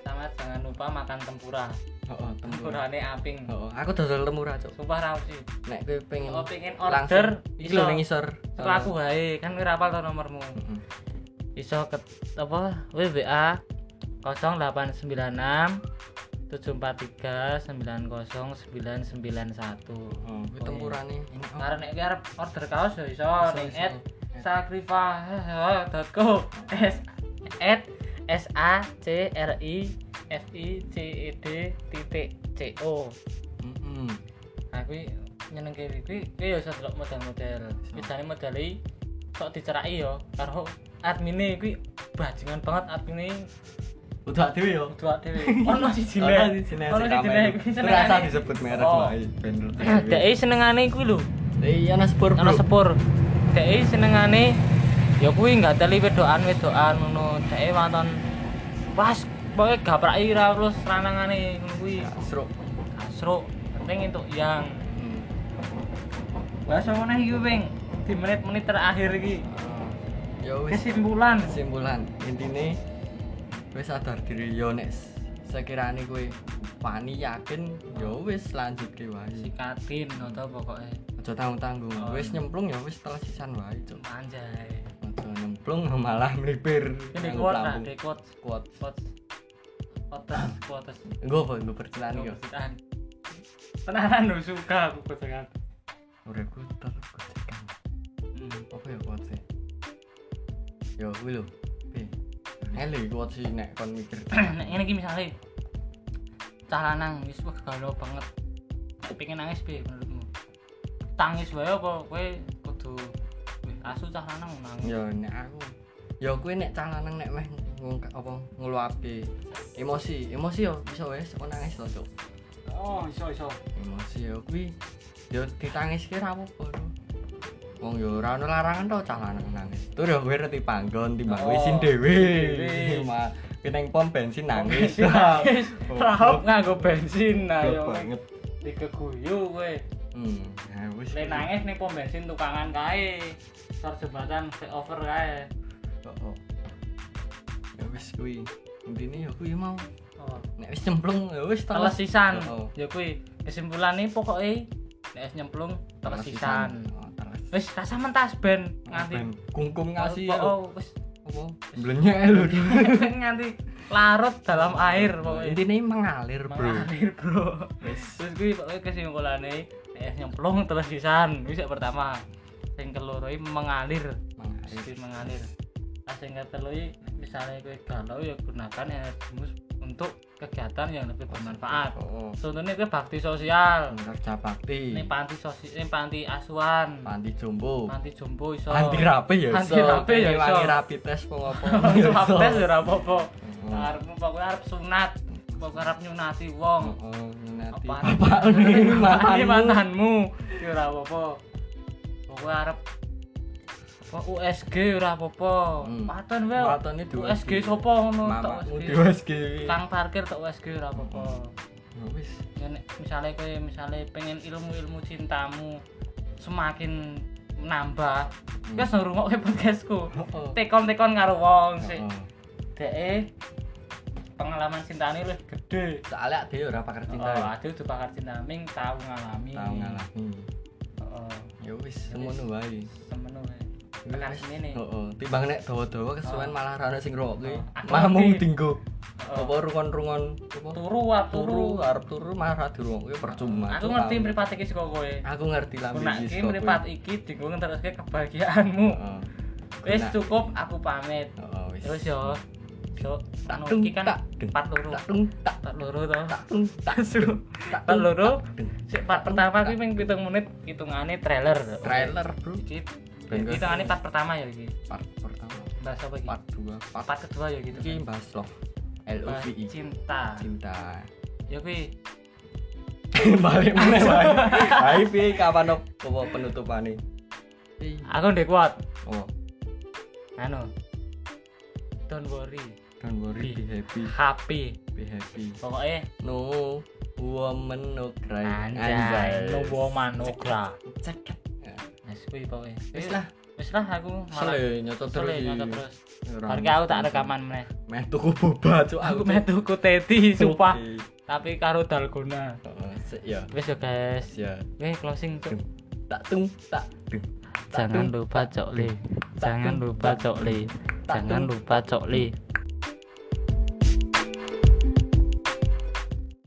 Speaker 2: sama jangan lupa makan tempura
Speaker 1: Oh, oh, tempura.
Speaker 2: tempurane aping
Speaker 1: Oh, oh, aku dodol lemura, Cuk.
Speaker 2: sumpah ra sih
Speaker 1: Nek gue pengen
Speaker 2: kalau pengen
Speaker 1: langsung
Speaker 2: order
Speaker 1: Oh, iki lho Oh. ning
Speaker 2: iso
Speaker 1: ngisor.
Speaker 2: Suka aku wae kan kira apal to nomormu
Speaker 1: Heeh.
Speaker 2: iso ke apa WBA 0896 743 90991
Speaker 1: Oh, kuwi tempurane enak. oh.
Speaker 2: karena nek kowe arep order kaos ya iso
Speaker 1: Iso,
Speaker 2: ning
Speaker 1: iso.
Speaker 2: at sacrifice.co s at s a c r i f i c e d titik c o
Speaker 1: Heeh.
Speaker 2: aku nyeneng kiri kuwi kuwi ya iso delok model-model biasane modeli sok diceraki ya karo admine kuwi bajingan banget admine
Speaker 1: Udah dhewe yo.
Speaker 2: dua dhewe ono siji ne
Speaker 1: Ono siji ne sing
Speaker 2: siji
Speaker 1: rame.
Speaker 2: ne
Speaker 1: Terasa disebut merek
Speaker 2: Oh.
Speaker 1: wae ben.
Speaker 2: dhek e senengane kuwi lho
Speaker 1: Iya e. ana sepur.
Speaker 2: ono sepur dhek senengane ya kuwi nggak teli wedokan wedokan ngono dhek waton pas pokoke gapraki ra terus ranangane ngono kuwi
Speaker 1: Seruk.
Speaker 2: kasruk penting entuk yang
Speaker 1: Mm.
Speaker 2: Wah, sama nih gue peng di menit-menit terakhir iki.
Speaker 1: Ya wis
Speaker 2: Kesimpulan.
Speaker 1: kesimpulan intine wis sadar diri yo nek s- sekirane kowe wani yakin yo wis lanjutke wae.
Speaker 2: Sikatin atau pokoknya
Speaker 1: Aja tanggung-tanggung.
Speaker 2: Oh.
Speaker 1: Wis nyemplung ya wis telas sisan wae, Cuk.
Speaker 2: anjay.
Speaker 1: Aja nyemplung malah melipir.
Speaker 2: Ini
Speaker 1: Nganggo
Speaker 2: kuat lah,
Speaker 1: lambung.
Speaker 2: di kuat,
Speaker 1: Kuat.
Speaker 2: kuat, kuates, kuates.
Speaker 1: Engko apa engko percilan iki.
Speaker 2: Kebitaan. Tenanan lo suka aku kecengan.
Speaker 1: Uripku tergocekan. apa ya kuat sih ya gue lho pi Ele kuat sih nek kon mikir
Speaker 2: Nah, ini gini misalnya, cah lanang wis wah galau banget. Nek pengen nangis be menurutmu? Tangis wae apa kowe kudu weh, asu cah lanang nangis.
Speaker 1: ya nek aku ya gue nek cah lanang ya nek meh ngungka- apa ngeluapke emosi emosi yo bisa wes kok nangis to cuk
Speaker 2: oh iso iso
Speaker 1: emosi ya kuwi yo ditangis ki ra apa-apa lho. wong yo ora ono larangan to cah lanang nangis tur yo kowe reti panggon timbang kowe
Speaker 2: Oh,
Speaker 1: isin dhewe
Speaker 2: dhewe.
Speaker 1: mah keneng pom bensin nangis
Speaker 2: nangis
Speaker 1: Goblok.
Speaker 2: rahop nganggo bensin nah,
Speaker 1: Goblok
Speaker 2: ayo
Speaker 1: banget
Speaker 2: dikeguyu kowe
Speaker 1: hmm nah wis
Speaker 2: le nangis nih pom bensin tukangan kae sor jembatan take over kae
Speaker 1: oh, oh. ya wis kuwi intine yo kuwi mau
Speaker 2: oh.
Speaker 1: nek wis cemplung ya wis
Speaker 2: teles sisan
Speaker 1: Oh.
Speaker 2: ya kuwi kesimpulane pokoke nek es nyemplung teles sisan
Speaker 1: Oh, teles
Speaker 2: wis rasa mentas ben
Speaker 1: Ben,
Speaker 2: nganti
Speaker 1: kungkum ngasih ya
Speaker 2: oh wis
Speaker 1: apa blenyek lho
Speaker 2: nganti larut dalam air pokoknya
Speaker 1: intine mengalir bro
Speaker 2: mengalir bro
Speaker 1: wis
Speaker 2: terus gue pokoknya kesimpulannya es nyemplung terus sisan gue sing pertama sing keloro iki mengalir
Speaker 1: mengalir
Speaker 2: Sing mengalir Nah, sing ketelu iki, misalnya gue galau ya gunakan energimu untuk kegiatan yang lebih bermanfaat
Speaker 1: oh, oh.
Speaker 2: contohnya gue bakti sosial
Speaker 1: kerja bakti
Speaker 2: ini panti sosi ini panti asuhan
Speaker 1: panti jombo
Speaker 2: panti jombo iso
Speaker 1: anti rapi ya
Speaker 2: Anti rapi ya iso.
Speaker 1: wangi rapi tes pengopo
Speaker 2: Langsung abdes ya ora apa-apa arepmu
Speaker 1: Hmm.
Speaker 2: pokoke arep sunat pokoke arep nyunati wong
Speaker 1: oh nanti
Speaker 2: Apaan?
Speaker 1: bapak ini
Speaker 2: Ini
Speaker 1: mantan
Speaker 2: mantanmu ya ora apa-apa pokoke arep apa USG ya, ora apa-apa
Speaker 1: Hmm.
Speaker 2: paten wae
Speaker 1: Watone di
Speaker 2: USG sapa ngono tok
Speaker 1: mamamu
Speaker 2: USG
Speaker 1: di USG
Speaker 2: kang parkir tok USG ora apa-apa
Speaker 1: Ya wis
Speaker 2: Ya, nek misalnya kowe misalnya pengen ilmu-ilmu cintamu semakin menambah
Speaker 1: Hmm.
Speaker 2: wis ngrungokke podcastku
Speaker 1: Oh, oh.
Speaker 2: tekon-tekon karo wong sik
Speaker 1: Oh, oh.
Speaker 2: deke pengalaman cintane luwih gede
Speaker 1: soalnya dia ora pakar cinta
Speaker 2: oh, aduh tuh pakar cinta ming tau ngalami
Speaker 1: tau ngalami
Speaker 2: oh,
Speaker 1: ya wis semono wae
Speaker 2: semenu wae. tekan sini nih
Speaker 1: Heeh, timbang nek dawa-dawa kesuwen malah ra ono sing ngrungokke.
Speaker 2: Oh, aku
Speaker 1: Mamung
Speaker 2: ngerti.
Speaker 1: dinggo.
Speaker 2: Oh.
Speaker 1: Apa rungon-rungon apa?
Speaker 2: turu ah
Speaker 1: Turu
Speaker 2: turu
Speaker 1: arep turu malah ra dirungokke percuma.
Speaker 2: aku
Speaker 1: Cuk,
Speaker 2: ngerti
Speaker 1: tau.
Speaker 2: mripat iki saka kowe
Speaker 1: Aku ngerti lah
Speaker 2: Gunak
Speaker 1: bisnis
Speaker 2: iki
Speaker 1: kok
Speaker 2: mripat
Speaker 1: kowe.
Speaker 2: iki dienggo ngeteruske kebahagiaanmu
Speaker 1: Heeh.
Speaker 2: wis ya.
Speaker 1: Gunak.
Speaker 2: cukup aku pamit
Speaker 1: Heeh, wis.
Speaker 2: terus yo so
Speaker 1: Tak
Speaker 2: anu
Speaker 1: dung,
Speaker 2: iki kan
Speaker 1: tak dung,
Speaker 2: part loro
Speaker 1: Tak tung tak
Speaker 2: part loro to
Speaker 1: tak tung tak
Speaker 2: Suruh.
Speaker 1: tak
Speaker 2: part
Speaker 1: tung,
Speaker 2: loro
Speaker 1: tak dung.
Speaker 2: sik part pertama kuwi ping 7 menit hitungane trailer
Speaker 1: trailer, Bro.
Speaker 2: iki
Speaker 1: Ben
Speaker 2: iki hitungane part pertama ya iki
Speaker 1: Part pertama,
Speaker 2: bahas apa iki
Speaker 1: part 2, part
Speaker 2: part kedua ya gitu
Speaker 1: iki bahas love. L O
Speaker 2: Bahas
Speaker 1: V E.
Speaker 2: cinta
Speaker 1: Cinta.
Speaker 2: ya kuwi
Speaker 1: Balik meneh wae. Ayo piye kapan op- apa penutupane?
Speaker 2: aku ndek kuat
Speaker 1: Oh,
Speaker 2: anu don't worry
Speaker 1: don't worry be kan happy.
Speaker 2: happy
Speaker 1: be happy
Speaker 2: pokoknya
Speaker 1: no woman no cry
Speaker 2: anjay no woman no cry
Speaker 1: ceket
Speaker 2: wis kuwi pokoknya
Speaker 1: wis lah
Speaker 2: wis lah aku
Speaker 1: sele
Speaker 2: malah
Speaker 1: Eh, nyoto terus
Speaker 2: sele
Speaker 1: iki.
Speaker 2: nyoto terus
Speaker 1: Ora
Speaker 2: Harga
Speaker 1: mesti.
Speaker 2: aku tak rekaman meneh.
Speaker 1: meh tuku boba cuk
Speaker 2: Aku
Speaker 1: cuk.
Speaker 2: meh tuku teti
Speaker 1: Tuku.
Speaker 2: sumpah, tapi karo dalgona.
Speaker 1: Heeh, sik ya
Speaker 2: Wis ya guys.
Speaker 1: ya
Speaker 2: Oke, closing tuh.
Speaker 1: Dung. tak tung tak dung
Speaker 2: Jangan lupa cokli. Jangan lupa cokli. Jangan lupa cokli.